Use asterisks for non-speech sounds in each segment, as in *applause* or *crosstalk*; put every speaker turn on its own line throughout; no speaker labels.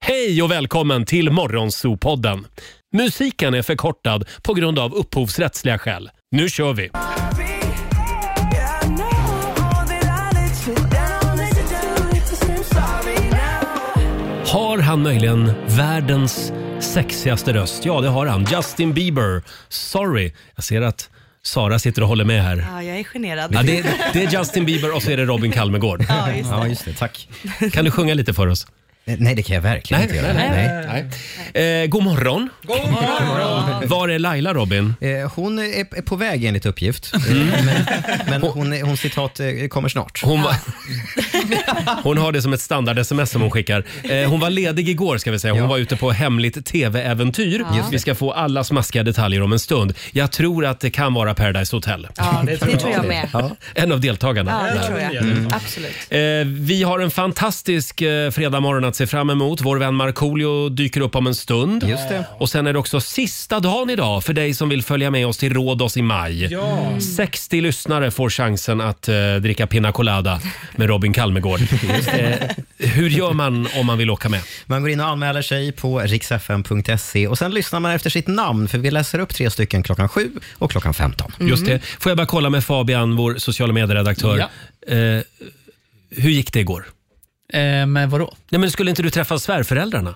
Hej och välkommen till Morgonzoo-podden. Musiken är förkortad på grund av upphovsrättsliga skäl. Nu kör vi! Har han möjligen världens sexigaste röst? Ja, det har han. Justin Bieber. Sorry. Jag ser att Sara sitter och håller med här.
Ja, jag är generad.
Ja, det, är, det är
*laughs*
Justin Bieber och så är det Robin Kalmegård.
Ja, just det.
Ja, just det. Tack.
Kan du sjunga lite för oss?
Eh, Nej, det kan jag verkligen inte göra.
Eh, god morgon. Var är Laila, Robin? Mm.
Eh, Hon är är på väg enligt uppgift, Eh, men, men hon, är- hon citat eh, kommer snart.
Hon, var... hon har det som ett standard-sms som hon skickar. Eh, hon var ledig igår ska vi säga. Hon
Ja.
var ute på hemligt tv-äventyr. Vi ska få alla smaskiga detaljer om en stund. Jag tror att det kan vara Paradise Hotel.
Ja, det, tror jag med.
En av deltagarna. Mm.
Ja, det
där.
tror jag. Absolut.
Eh, vi har en fantastisk eh, fredagmorgon att se fram emot. Vår vän Markoolio dyker upp om en stund.
Just det.
Och sen är det också sista dagen idag för dig som vill följa med oss till Rhodos i maj. 60 lyssnare får chansen att eh, dricka Pina Colada med
*laughs*
Robin Kalmegård. eh, hur gör man om man vill åka med?
Man går in och anmäler sig på riksfm.se och sen lyssnar man efter sitt namn, för vi läser upp tre stycken klockan 7 och klockan 15.
Just det. Får jag bara kolla med Fabian, vår sociala medieredaktör. Eh, hur gick det igår?
Eh, men vadå?
Nej, men skulle inte du träffa svärföräldrarna?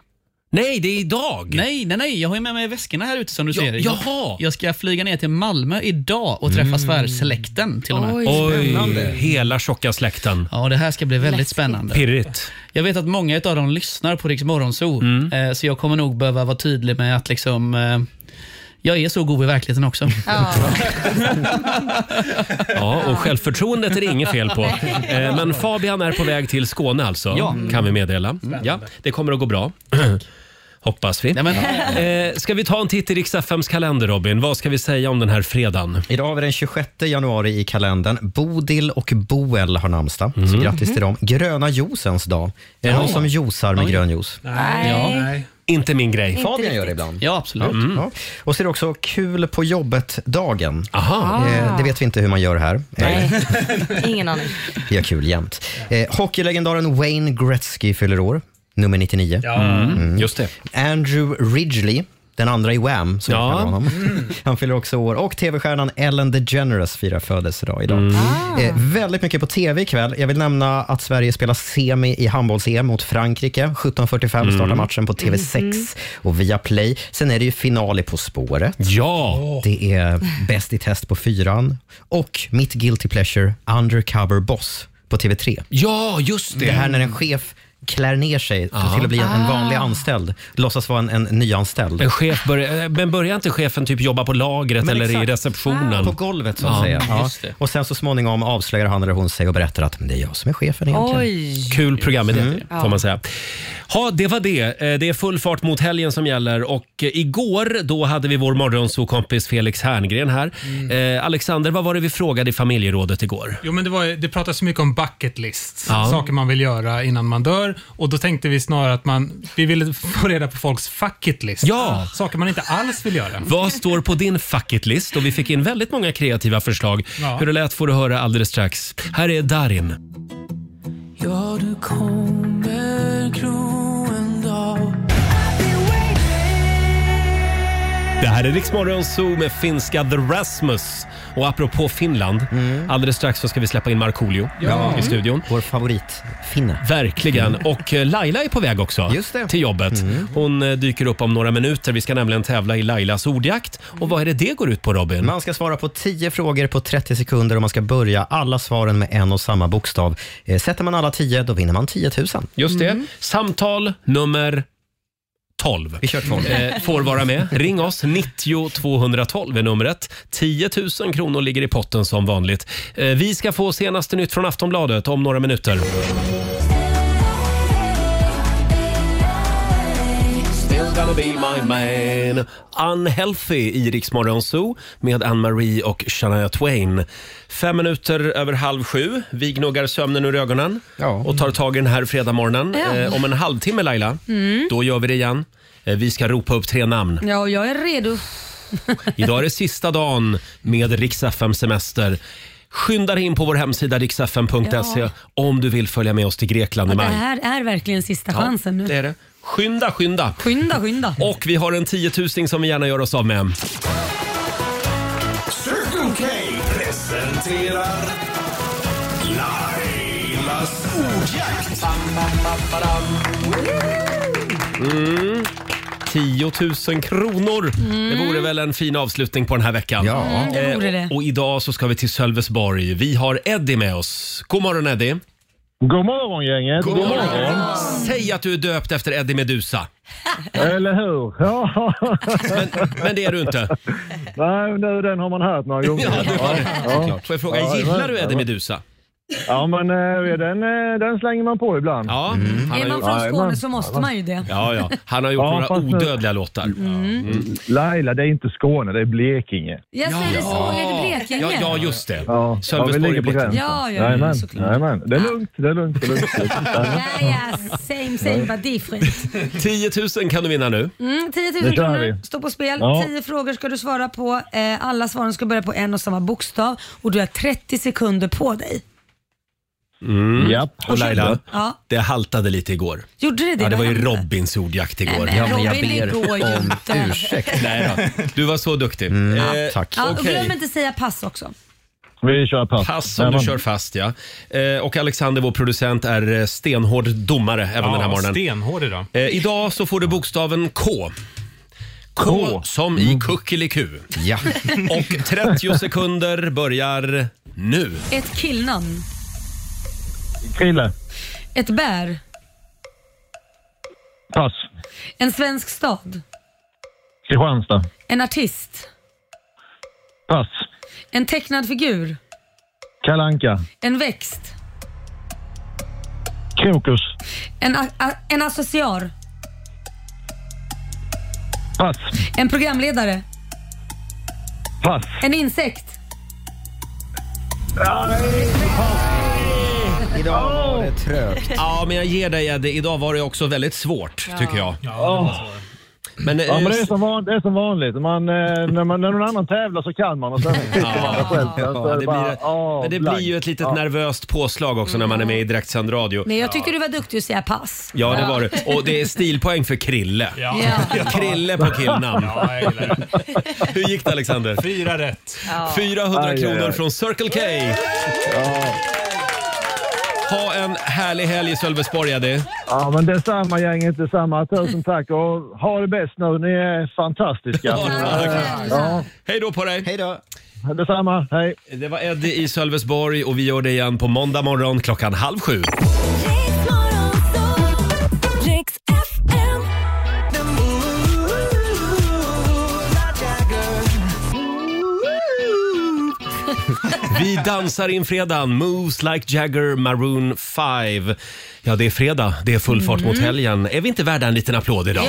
Nej, det är idag!
Nej, nej, nej. Jag har ju med mig väskorna här ute som du
Ja,
ser.
jaha. Mm.
Jag ska flyga ner till Malmö idag och träffa svärsläkten till och med.
Oj, hela tjocka släkten.
Ja, det här ska bli väldigt spännande.
Pirrigt. Mm.
Jag vet att många av dem lyssnar på Rix Morgonzoo, eh, så jag kommer nog behöva vara tydlig med att liksom, eh, jag är så god i verkligheten också.
Ja,
*laughs*
och självförtroendet är det inget fel på. Eh, Men Fabian är på väg till Skåne alltså, kan vi meddela. Ja, det kommer att gå bra. *clears throat* Hoppas vi.
Nej, men,
Eh, ska vi ta en titt i riks FMs kalender, Robin? Vad ska vi säga om den här fredagen?
Idag har vi den 26 januari i kalendern. Bodil och Boel har namnsdag,
Mhm.
så grattis till dem. Gröna juicens dag. Är det någon som juicar med grön juice?
Inte min grej.
Fabian gör det ibland. Mm.
ja, absolut.
Ja. Och så är det också kul på jobbet-dagen.
Aha.
Eh, Det vet vi inte hur man gör här. Eh,
Nej, ingen aning.
*laughs* Vi har kul jämt. Eh, hockeylegendaren Wayne Gretzky fyller år, nummer 99.
Mm, just det.
Andrew Ridgely, den andra i Wham, som
Ja. Mm.
jag kallar honom. *laughs* Han fyller också år. Och tv-stjärnan Ellen DeGeneres firar födelsedag idag.
Mm.
Eh, väldigt mycket på tv ikväll. Jag vill nämna att Sverige spelar semi i handbolls-EM mot Frankrike. 17.45 startar
Mm.
matchen på TV6 och via Play. Sen är det ju final i På spåret.
Ja!
Det är Bäst i test på fyran och mitt guilty pleasure, Undercover Boss på TV3.
Ja, just
Det
det!
här när en chef klär ner sig till att bli en, en vanlig anställd, låtsas vara en, en nyanställd.
En chef börjar, eh, men börjar inte chefen typ jobba på lagret
Men
eller i
exakt. På
receptionen?
golvet så att säga. Ja.
just det.
Och sen så småningom avslöjar han eller hon sig och berättar att "Men det är jag som är chefen egentligen. Mm.
Oj.
Kul programidé, får man säga. Ja, det var det. Eh, Det är full fart mot helgen som gäller. Och eh, igår då hade vi vår morgonsokompis Felix Herngren här.
Mm.
Eh, Alexander, vad var det vi frågade i familjerådet igår?
Jo, men det, var, det pratas mycket om bucket lists,
Ja.
saker man vill göra innan man dör. Och då tänkte vi snarare att man, vi ville få reda på folks fuck it list.
Ja.
Saker man inte alls vill göra.
Vad står på din fuck it-list? Och vi fick in väldigt många kreativa förslag.
Ja.
Hur det lät får du höra alldeles strax. Här är Darin.
Ja, du kommer gro en dag
Det här är Riksmorgon Zoo med finska The Rasmus. Och apropå Finland, alldeles strax så ska vi släppa in Markoolio i studion.
Mm. Vår favoritfinne.
Verkligen. Och eh, Laila är på väg också
Just det. Mm.
till jobbet. Hon eh, dyker upp om några minuter. Vi ska nämligen tävla i Lailas ordjakt. Och vad är det det går ut på Robin?
Man ska svara på 10 frågor på 30 sekunder och man ska börja alla svaren med en och samma bokstav. Eh, Sätter man alla 10, då vinner man 10 000.
Just det. Samtal nummer 12.
Vi kör två.
Eh, får vara med. Ring oss. 90 212 är numret. 10 000 kronor ligger i potten som vanligt. Eh, vi ska få senaste nytt från Aftonbladet om några minuter. Still gonna be my man. Unhealthy i Rix Morgon Zoo med Ann-Marie och Shania Twain. Fem minuter över halv sju. Vi gnuggar sömnen ur ögonen
Ja.
och tar tag i den här fredagmorgonen.
Ja.
Eh, om en halvtimme Laila,
Mm.
då gör vi det igen. Eh, vi ska ropa upp
*laughs*
tre namn.
Ja, och jag är redo.
Idag är det sista dagen med Rix FM semester. Skynda dig in på vår hemsida riksfm.se
Ja.
om du vill följa med oss till Grekland i
Det
maj.
här är verkligen sista chansen nu.
det är det. Skynda, skynda!
Skynda, skynda.
Och vi har en tiotusing som vi gärna gör oss av med.
Circle K presenterar Lailas ordjakt.
10 000 Mm. kronor! Det vore väl en fin avslutning på den här veckan.
Ja. Mm,
det vore
Eh,
det.
Och idag så ska vi till Sölvesborg. Vi har Eddie med oss. God morgon Eddie!
God morgon gänget! God morgon!
Säg att du är döpt efter Eddie Medusa.
Eller hur? *laughs* Ja,
Men, men det är du inte.
nej, nu den har man hört några gånger.
Ja, du har det.
ja.
Får jag fråga,
Ja,
gillar
men-
du Eddie Medusa?
ja men eh, den, eh, den slänger man på ibland. Mm.
Ja, han
Är man
har gjort,
från
Ja,
Skåne
men-
så måste man ju Mm. det.
ja, ja. Han har gjort
Ja,
några
fast nu- Mm.
odödliga låtar.
Laila, det är inte Skåne, det är Blekinge.
Jag säger det så, är det
Ja,
Blekinge?
ja, just det.
Ja, ja vi
Sölvesborg
ligger på
är Blekinge.
gränsen.
Ja, ja,
Jajamän,
såklart.
jajamän. Det är lugnt, det är lugnt. Det är
*laughs*
lugnt.
Ja, ja, same same but different.
10 000 kan du vinna nu.
Mm, 10 000
Det kör
kronor
vi.
står på spel.
Ja.
10 frågor ska du svara på. Eh, Alla svaren ska börja på en och samma bokstav och du har 30 sekunder på dig.
Japp.
Mm. Och Laila,
Ja.
det haltade lite igår.
Gjorde det det?
Ja, det var ju
Vad hände?
Robins ordjakt igår.
Nej, men
men jag
Robin, det
ber
går ju inte. *laughs* Mm.
Ursäkta.
Nej då. Du var så duktig. Eh,
tack.
Ja, och
Okej.
glöm inte säga pass också.
Vi kör pass.
Pass som du
Jajamän.
kör fast ja. Eh, och Alexander, vår producent, är eh, stenhård domare även den här morgonen.
Stenhård idag.
Eh, idag så får du bokstaven K. K, som i kuckeliku.
Ja.
*laughs* Och 30 sekunder börjar nu.
Ett killnamn.
Krille.
Ett bär.
Pass.
En svensk stad.
Kristianstad.
En artist.
Pass.
En tecknad figur.
Kalle Anka.
En växt.
Krokus.
En, a- a- en associar.
Pass.
En programledare.
Pass.
En insekt.
Idag var det trögt.
Ja, men jag ger dig Eddie. Idag var det också väldigt svårt tycker jag.
Åh.
Men, eh,
Ja, men det är som, van, det är som vanligt. Man, eh, när, man, när någon annan tävlar så kan man och
*laughs*
sen sitter man där själv. Sen så
Ja,
är
det
bara,
blir,
ah,
men det
blank.
blir ju ett litet nervöst påslag också när man är med i direktsänd radio.
Men jag tycker du var duktig att säga pass.
Ja, det var det. Och det är stilpoäng för Krille.
Ja.
Krille på killnamn.
Ja, jag gillar det.
Hur gick det Alexander?
Fyra rätt.
400
Aj, aj,
kronor
aj.
från Circle K. Ha en härlig helg i Sölvesborg Eddie.
Ja, men det är samma gänget, det är samma. Tusen tack och ha det bäst nu. Ni är fantastiska. Ja,
Hej då på dig!
Hej då.
detsamma. Hej.
*laughs* Det var Eddie i Sölvesborg och vi gör det igen på måndag morgon klockan halv sju. Vi dansar in fredagen. Moves like Jagger, Maroon 5. Ja, det är fredag. Det är full fart
Mm.
mot helgen. Är vi inte värda en liten applåd idag?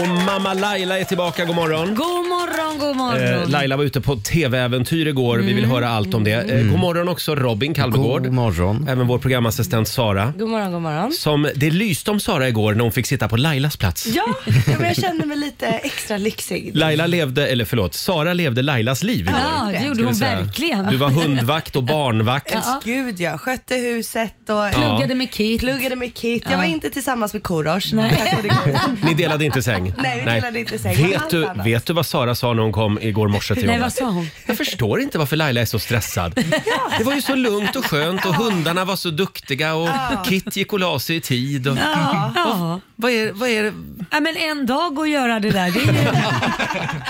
Och mamma Laila är tillbaka. God morgon.
God morgon, god
Eh,
morgon.
Laila var ute på tv-äventyr igår. Vi
Mm.
vill höra allt om det. Eh, God morgon också Robin Kalmegård.
God morgon.
Även vår programassistent Sara.
God morgon, god morgon.
Som det lyste om Sara igår när hon fick sitta på Lailas plats.
Ja, men jag kände mig lite extra lyxig.
Laila levde, eller förlåt, Sara levde Lailas liv igår.
Ja, det gjorde hon
Ska vi säga.
verkligen.
Du var hundvakt och barnvakt.
Gud jag skötte huset och
Pluggade med Kit.
pluggade med Kit. Jag var inte tillsammans med Korosh. Tack och gud.
*laughs* Ni delade inte säng?
Nej, vi delade inte säng. Men
Vet
allt
du,
annat.
vet du vad Sara sa när hon kom igår morse till
Nej, vad
jobbet?
sa hon?
Jag förstår inte varför Laila är så stressad. Det var ju så lugnt och skönt och hundarna var så duktiga och Kit gick och la sig i tid. Och...
Ja.
Vad är, vad är det?
ja, men en dag att göra det där. Det är ju...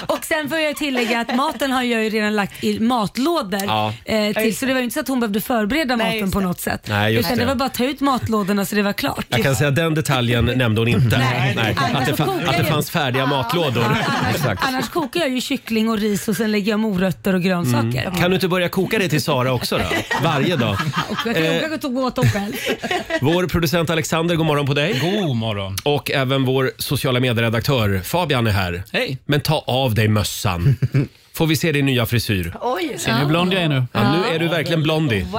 Och sen får jag tillägga att maten har jag ju redan lagt i matlådor.
Ja.
Eh, till, så det var ju inte så att hon behövde förbereda
Nej,
maten
just
på
det.
något sätt.
Nej, just
Utan det.
det.
var bara att ta ut matlådorna så det var klart.
Jag kan säga den detaljen nämnde hon inte.
Nej.
Att, det fa- att det fanns färdiga matlådor. Exakt.
Annars kokar jag ju kyckling och ris och sen lägger jag morötter och grönsaker.
Mm. Kan du inte börja koka det till Sara också då?
*laughs*
Varje dag.
Och jag kan
Eh.
eh. åka och gå åt dem själv.
Vår producent Alexander, god morgon på dig.
God morgon.
Och även vår sociala medieredaktör Fabian är här.
Hej.
Men ta av dig mössan. Får vi se din nya frisyr?
Oj,
Ser ni hur blond jag är nu?
Ja, nu är du verkligen blondie.
Det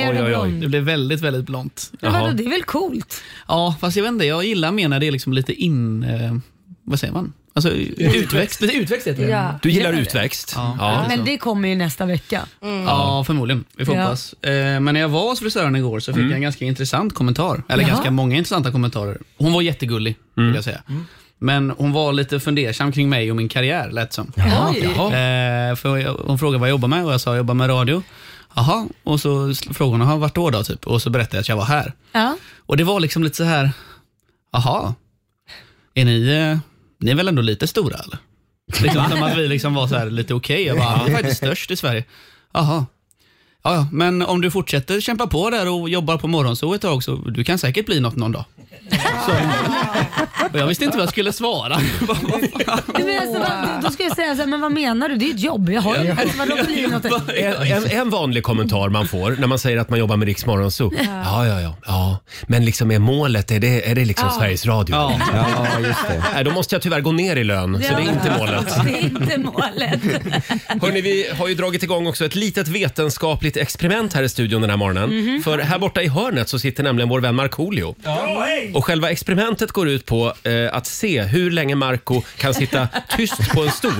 är
Oj, oj, oj.
Det blev väldigt, väldigt blont.
Men
Jaha.
vadå, det är väl coolt?
Ja, fast jag vet inte. Jag gillar mer när det är liksom lite in... Eh, vad säger man? Alltså, utväxt, utväxt heter det.
Ja.
Du gillar utväxt?
Ja.
Ja.
Men det kommer ju nästa vecka.
Ja, förmodligen. Vi får
Mm. Ja.
hoppas. Eh, Men när jag var hos frisören igår så fick jag en ganska intressant kommentar. Eller
Jaha.
ganska många intressanta kommentarer. Hon var jättegullig, vill jag säga.
Mm.
Men hon var lite fundersam kring mig och min karriär, lät som.
Oj.
Eh, för jag, hon frågade vad jag jobbar med och jag sa jag jobbar med radio. Jaha, och så sl- frågade hon "Jaha, vart då, då typ. och så berättade jag att jag var här.
Ja.
Och det var liksom lite så här, jaha, är ni, eh, ni är väl ändå lite stora eller? Liksom som att vi liksom var så här lite okej, jag bara, vi är faktiskt störst i Sverige. Jaha. Ja, ja, men om du fortsätter kämpa på där och jobbar på morgonsol ett tag så du kan säkert bli något någon dag. Så, och jag visste inte vad jag skulle svara. Vad fan?
Du menar, så, alltså, vad, då ska jag säga så här, men vad menar du? Det är ju ett jobb. Jag har ju inte. Vadå blir det något?
En, en, en vanlig kommentar man får när man säger att man jobbar med Rix Morgonzoo. Ja, ja, ja, ja. Men liksom är målet, är det, är det liksom Sveriges Radio?
Ja.
Ja, just det.
Nej, då måste jag tyvärr gå ner i lön, så det är inte målet.
*laughs* Det är inte målet.
Hörni, vi har ju dragit igång också ett litet vetenskapligt experiment här i studion den här morgonen.
Mhm.
För här borta i hörnet så sitter nämligen vår vän Markoolio. Och själva experimentet går ut på eh, att se hur länge Marco
*laughs*
kan sitta tyst på en stol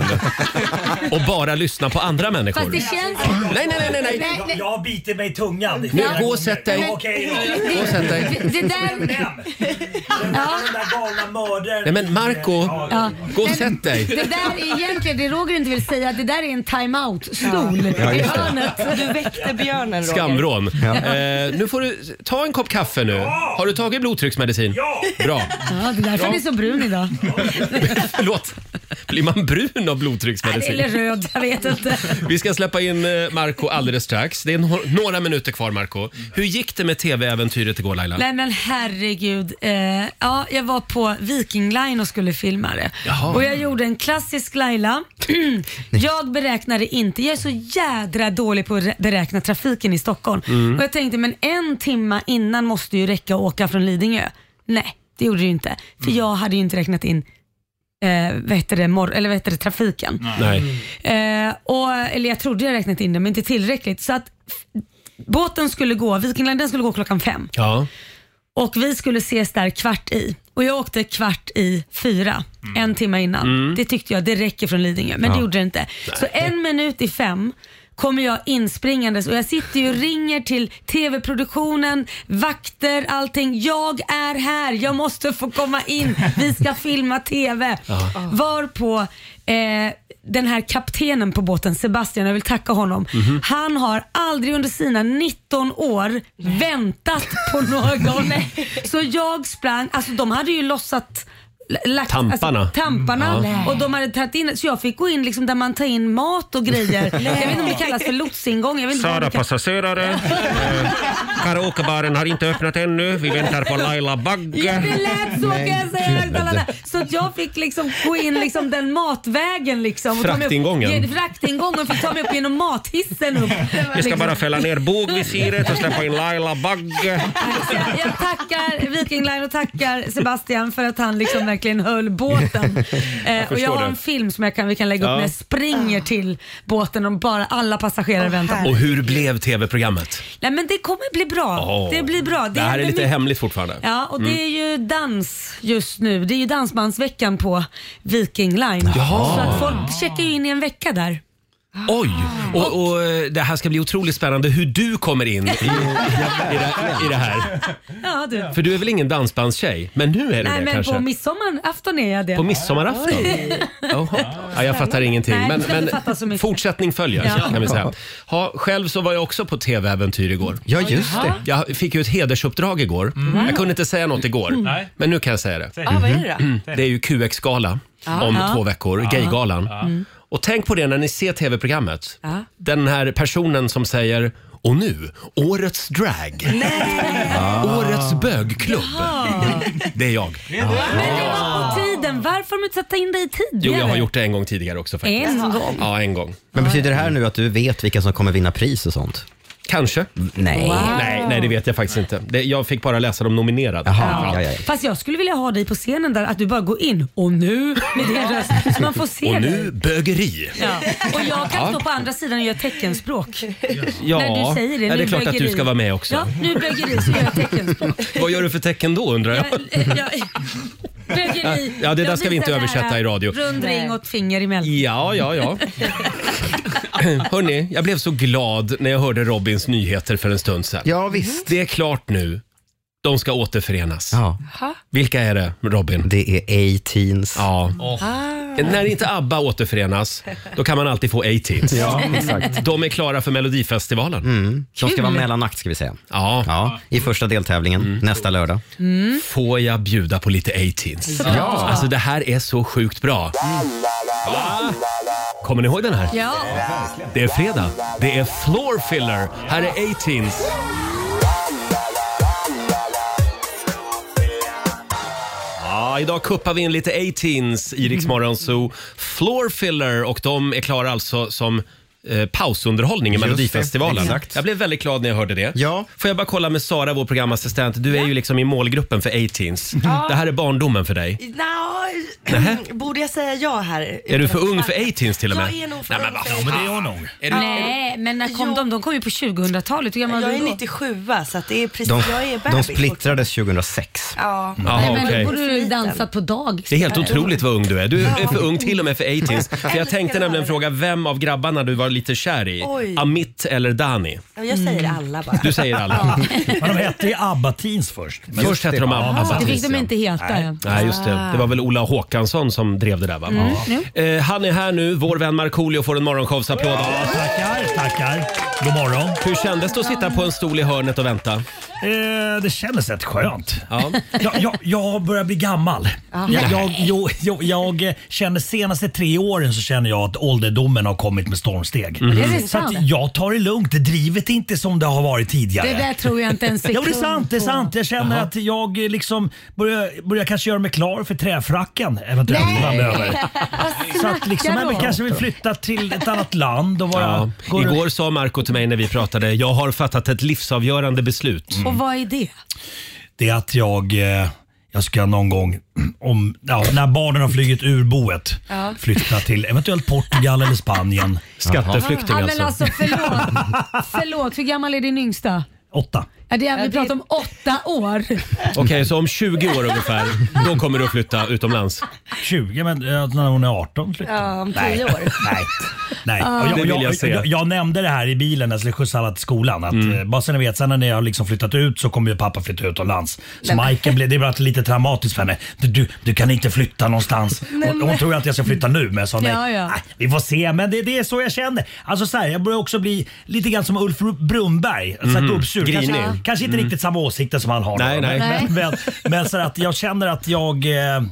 och bara lyssna på andra människor.
Fast det känns...
Nej, nej, nej, nej, nej.
Nej, nej.
Jag biter mig i tungan.
Nu, gå och sätt dig.
Okej då.
Gå och sätt dig.
Det, det där... Ja.
Den där galna mördaren.
Nej men Marco,
Ja.
gå och sätt dig.
Det där är egentligen, det Roger inte vill säga, det där är en timeout-stol i
just det.
hörnet.
Du väckte björnen Roger.
Skamvrån. Eh, nu får du ta en kopp kaffe nu. Har du tagit blodtrycksmedicin?
Ja!
Bra. *laughs*
Ja, det är därför han är så brun idag.
Förlåt. Blir man brun av
Eller
blodtrycksmedicin?
röd, jag vet inte.
Vi ska släppa in eh, Marco alldeles strax. Det är no- några minuter kvar Marco. Hur gick det med tv-äventyret igår Laila?
Nej men herregud. Eh, ja, jag var på Viking Line och skulle filma det.
Jaha.
Och jag gjorde en klassisk
*clears throat*
Laila. jag beräknade inte, jag är så jädra dålig på att re- beräkna trafiken i Stockholm.
Mm.
Och jag tänkte men en timma innan måste ju räcka att åka från Lidingö. Nej, det gjorde det ju inte.
Mm.
För jag hade ju inte räknat in Eh, vad heter det, mor- eller vad heter det, trafiken.
Nej.
Eh, och, eller jag trodde jag räknat in det men inte tillräckligt. Så att f- båten skulle gå, Viking Line den skulle gå klockan fem.
Ja.
Och vi skulle ses där kvart i. Och jag åkte kvart i fyra, en timme innan. Det tyckte jag, det räcker från Lidingö, men det gjorde det inte. Så en minut i fem kommer jag inspringandes och jag sitter ju och ringer till TV-produktionen, vakter, allting. Jag är här, jag måste få komma in, vi ska filma TV. Varpå eh, den här kaptenen på båten, Sebastian, jag vill tacka honom.
Mhm.
Han har aldrig under sina 19 år väntat
*laughs*
på någon. Så jag sprang, alltså de hade ju lossat l- Lagt,
Tamparna. Mm,
Alltså, tamparna
Ja.
och de hade tagit in, så jag fick gå in liksom där man tar in mat och grejer.
*laughs*
jag vet inte om det kallas för lotsingång. Jag vet inte vad det kallas.
passagerare. Eh, Karaokebaren har inte öppnat ännu. Vi väntar på Laila
Ja,
Bagge.
det lät så kan jag säga i högtalarna. Så att jag fick liksom gå in liksom den matvägen. Liksom och ta mig upp-
Fraktingången.
Ge- Fraktingången fick ta mig upp genom mathissen.
*laughs*
Upp. Liksom.
fälla ner bogvisiret och släppa in Laila Bagge.
Så jag- Jag tackar Viking Line och tackar Sebastian för att han liksom verkligen höll båten.
*laughs*
Eh, och jag
förstår
har
det.
en film som jag kan, vi kan lägga upp
Ja.
när jag springer till båten och bara alla passagerare väntar på
Och hur blev tv-programmet?
Nej men det kommer bli bra.
Åh.
Det blir bra.
Det, här är
händer
lite
mycket.
hemligt fortfarande.
Ja, och
Mm.
det är ju dans just nu. Det är ju Dansbandsveckan på Viking Line.
Jaha.
Så att folk checkar ju in i en vecka där.
Mm. Oj! Och, och eh, det här ska bli otroligt spännande hur du kommer in i, i, det, i det här.
*laughs* Ja, du.
För du är väl ingen dansbandstjej? Men nu är du
Nej
det
men
kanske?
på midsommarafton är jag det. *laughs*
På midsommarafton? Jaha. Ja, jag fattar ingenting.
Nej,
Men,
du
men
fattar så mycket.
fortsättning följer
Ja.
kan vi säga. Ha, själv så var jag också på tv-äventyr igår.
Ja, just det.
Jag fick ju ett hedersuppdrag igår. Jag kunde inte säga något igår,
Nej.
men nu kan jag säga det. Mm.
Ja, vad är det då?
Det är ju QX-gala om två veckor, Gaygalan. Och tänk på det när ni ser tv-programmet. Den här personen som säger och nu, årets drag. Årets bögklubb. Det är jag.
Men det var på tiden. Varför har de inte satt in dig tidigare?
Jo, jag har gjort det en gång tidigare också faktiskt.
En gång.
Ja, en gång.
Men betyder det här nu att du vet vilka som kommer vinna pris och sånt?
Kanske.
Nej.
Nej, nej, det vet jag faktiskt inte. Det, jag fick bara läsa de nominerade.
Jaha, ja, ja, ja.
Fast jag skulle vilja ha dig på scenen där, att du bara går in och nu med din röst. Så man får se
Och
dig.
nu bögeri.
Ja. Och jag kan stå på andra sidan och göra teckenspråk.
Ja,
När du säger det.
ja,
nu
det är klart att
bögeri.
du ska vara med också.
Ja, nu bögeri så gör jag teckenspråk.
Vad gör du för tecken då undrar jag?
Jag, jag, Bögeri.
Ja, det där
Jag
ska vi inte
visar det här.
översätta i radio.
Rund ring och ett finger emellan.
Ja,
*laughs*
ja, ja. Hörni, jag blev så glad när jag hörde Robins nyheter för en stund sedan.
Ja, visst.
Det är klart nu. De ska återförenas.
Ja.
Vilka är det, Robin?
Det är A-teens.
Ja. När inte ABBA återförenas, då kan man alltid få A-teens.
Ja, exakt. Mm.
De är klara för Melodifestivalen.
De ska vara mellanakt ska vi säga.
Ja, Mm.
Ja, i första deltävlingen nästa lördag.
Mm.
får jag bjuda på lite A-teens? Ja. Alltså det här är så sjukt bra. Va? Kommer ni ihåg den här?
Ja.
Det är fredag. Det är Floor Filler. Här är 18s. Ja, idag kuppar vi in lite 18s i Rix Morgon Zoo. Floor Filler och de är klara alltså som eh, pausunderhållning i
Just det,
Melodifestivalen.
exakt.
Jag blev väldigt glad när jag hörde det.
Ja.
Får jag bara kolla med Sara, vår programassistent. Du är ju liksom i målgruppen för 18s. Det här är barndomen för dig.
Nå, borde jag säga ja här?
Är du för ung för 18s till och med?
Jag är nog för
Nej, men
ung
vad
för
fan.
men det är hon nog.
Är du-
Nej, men när kom
Jo.
de? De kom ju på 2000-talet. Hur gammal var
Jag
du
är
då?
97 så att det är precis,
De,
jag är bebis.
de
fortfarande.
splittrades 2006.
Ja.
Jaha,
Nej, men
okej.
då borde du dansat på dagis.
Det är helt otroligt vad ung du är. Du är för ung till och med för 80s. För jag tänkte nämligen fråga vem av grabbarna du var lite kär i.
Oj.
Amit eller Dani?
Ja, Jag säger
Mm.
alla bara.
Du säger alla.
Men de hette ju ABBA-teens först. Men
Först hette de Ab-
Det
Abba
fick
Teens.
de inte heta. ja.
Nej, just det. Det var väl Ola Håkansson som drev det där va?
Mm.
Eh, han är här nu. Vår vän Markoolio får en morgonshowsapplåd av oss.
Tackar, tackar. God morgon.
Hur kändes det att sitta på en stol i hörnet och vänta?
Eh, det kändes rätt skönt.
Ja.
Jag, jag, jag börjar bli gammal.
Ah.
Jag, jag, jag, jag, jag eh, känner senaste tre åren så känner jag att ålderdomen har kommit med stormsteg. Mm.
Är det
Så att
sant?
jag tar det lugnt. Drivet är inte som det har varit tidigare.
Det där tror jag inte
*laughs*
en sekund
Ja, men det är sant. Det är
på.
sant. Jag känner att jag eh, liksom börjar, börjar kanske göra mig klar för träfracken eventuellt
*laughs*
framöver. Så att liksom,
Snackar
jag
du
vill
om?
kanske vill flytta till ett annat land och vara...
Ja.
går-
Igår sa Marco till mig när vi pratade, jag har fattat ett livsavgörande beslut.
Och vad är det?
Det är att jag, eh, jag ska någon gång, *clears throat* om, ja, när barnen har flugit ur boet, flytta till eventuellt Portugal eller Spanien.
Skatteflykting
Ja, men
alltså.
alltså förlåt.
*laughs*
förlåt, hur gammal är din yngsta?
Åtta.
Ja, det är, vi
det-
pratar om åtta år.
Okej, så om 20 år ungefär, då kommer du att flytta utomlands.
20, men eh, när hon är 18 flyttar
Ja, om tio år.
*laughs* Nej. Nej. Och
Det
Jag,
vill
jag,
jag
jag,
se. Mm.
jag, nämnde det här i bilen när jag skulle skjutsa alla till skolan. Att, eh, Bara så ni vet, sen när jag har liksom flyttat ut så kommer ju pappa flytta utomlands. Så Majken, blev, det blev lite traumatiskt för henne. Du, du, du kan inte flytta någonstans. Hon, hon tror ju att jag ska flytta nu men jag sa nej.
Ja, ja.
nej vi får se, men det, det är så jag känner. Alltså så här, jag börjar också bli lite grann som Ulf Brunberg. Så här gubbsur. Kanske,
Mhm. Grinig. Mm.
kanske inte riktigt samma åsikter som han har.
Nej,
då,
nej.
Men,
Nej.
*laughs* men, men, men så att jag känner att jag eh,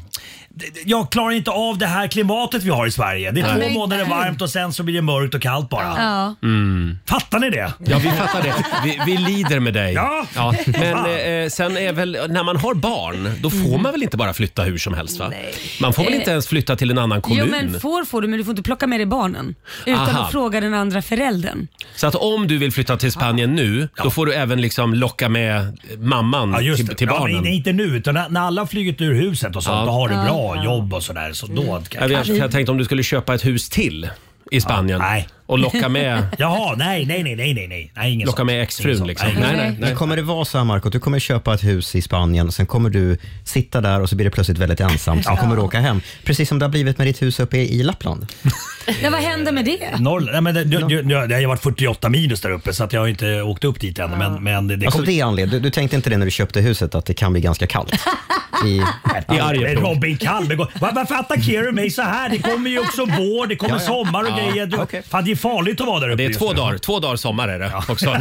jag klarar inte av det här klimatet vi har i Sverige. Det är två
men
månader
gud.
varmt och sen så blir det mörkt och kallt bara.
Ja.
Mm.
Mm. Fattar ni det?
Ja, vi fattar det. Vi, vi lider med dig.
Ja.
men eh, sen är väl, när man har barn, då
Mm.
får man väl inte bara flytta hur som helst? Va? Man får väl inte ens flytta till en annan kommun?
Eh. Jo men får får du men du får inte plocka med dig barnen. Utan
Aha.
att fråga den andra föräldern.
Så att om du vill flytta till Spanien nu, då får du även liksom locka med mamman
Ja, just
Mm, till,
det.
till
ja,
barnen.
men inte nu, utan när, när alla har flugit ur huset och sånt,
Ja.
då har du bra jobb och sådär. Så
Mm.
då
jag,
kan,
vet, jag tänkte om du skulle köpa ett hus till i Spanien
nej.
*laughs* och locka med,
Jaha, nej, nej, nej, nej, nej, nej. nej ingen
locka
sån.
med
Ingen
exfrun.
sån.
Liksom.
Nej.
Nej, nej, nej.
Men kommer det vara så här Marco, att du kommer köpa ett hus i Spanien, sen kommer du sitta där och så blir det plötsligt väldigt ensamt, sen kommer du åka hem. Precis som det har blivit med ditt hus uppe i Lappland.
Ja, vad händer med det?
Norrland, nej, men det, du, du, det har ju varit 48 minus där uppe så att jag har inte åkt upp dit än. Men, men det, det
Alltså
kommer-
det är anledningen, du, du tänkte inte det när du köpte huset, att det kan bli ganska kallt. I,
I Arjeplog.
Robin Kalmegård. Var- Varför attackerar du mig så här? Det kommer ju också vår, det kommer
Ja, ja.
sommar och
Ja.
grejer. Du,
Okej.
Fan, det är farligt att vara där uppe
Det är
just
två
nu.
dagar, två dagar sommar är det
*laughs*
också.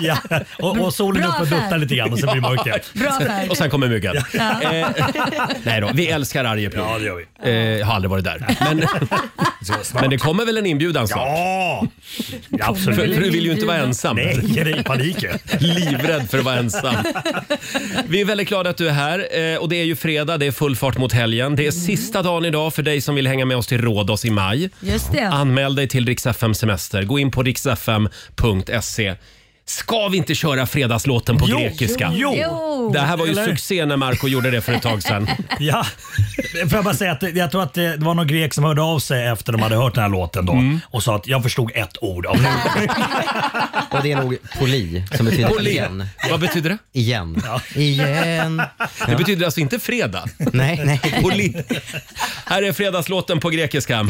Ja. Och, och solen
Bra
upp och
affär.
duttar lite grann och så blir det mörkt igen.
Bra affär.
Och sen kommer myggen. Eh, nej då, vi älskar Arjeplog.
Ja, det gör vi.
Eh, jag har aldrig varit där.
*laughs*
Men, men det kommer väl en inbjudan snart?
Ja, absolut.
För, för du vill ju inte vara ensam.
Nej, det är panik.
*laughs* Livrädd för att vara ensam. Vi är väldigt glada att du är här. Eh, Och Det är ju fredag, det är full fart mot helgen. Det är
Mm.
sista dagen idag för dig som vill hänga med oss till Rhodos i maj.
Just det.
Anmäl dig till Rix FM Semester. Gå in på rixfm.se. Ska vi inte köra fredagslåten på
Jo,
grekiska?
jo,
Jo.
Det här var ju
Eller?
succé när Marco gjorde det för ett tag sedan.
Ja, får jag bara säga att det- jag tror att det det var någon grek som hörde av sig efter de hade hört den här låten då
Mm.
och sa att jag förstod ett ord av den.
*laughs* Och det är nog poli som betyder igen.
Vad betyder det?
Igen. Igen.
Det betyder alltså inte fredag.
Nej, nej.
Poli. Här är fredagslåten på grekiska.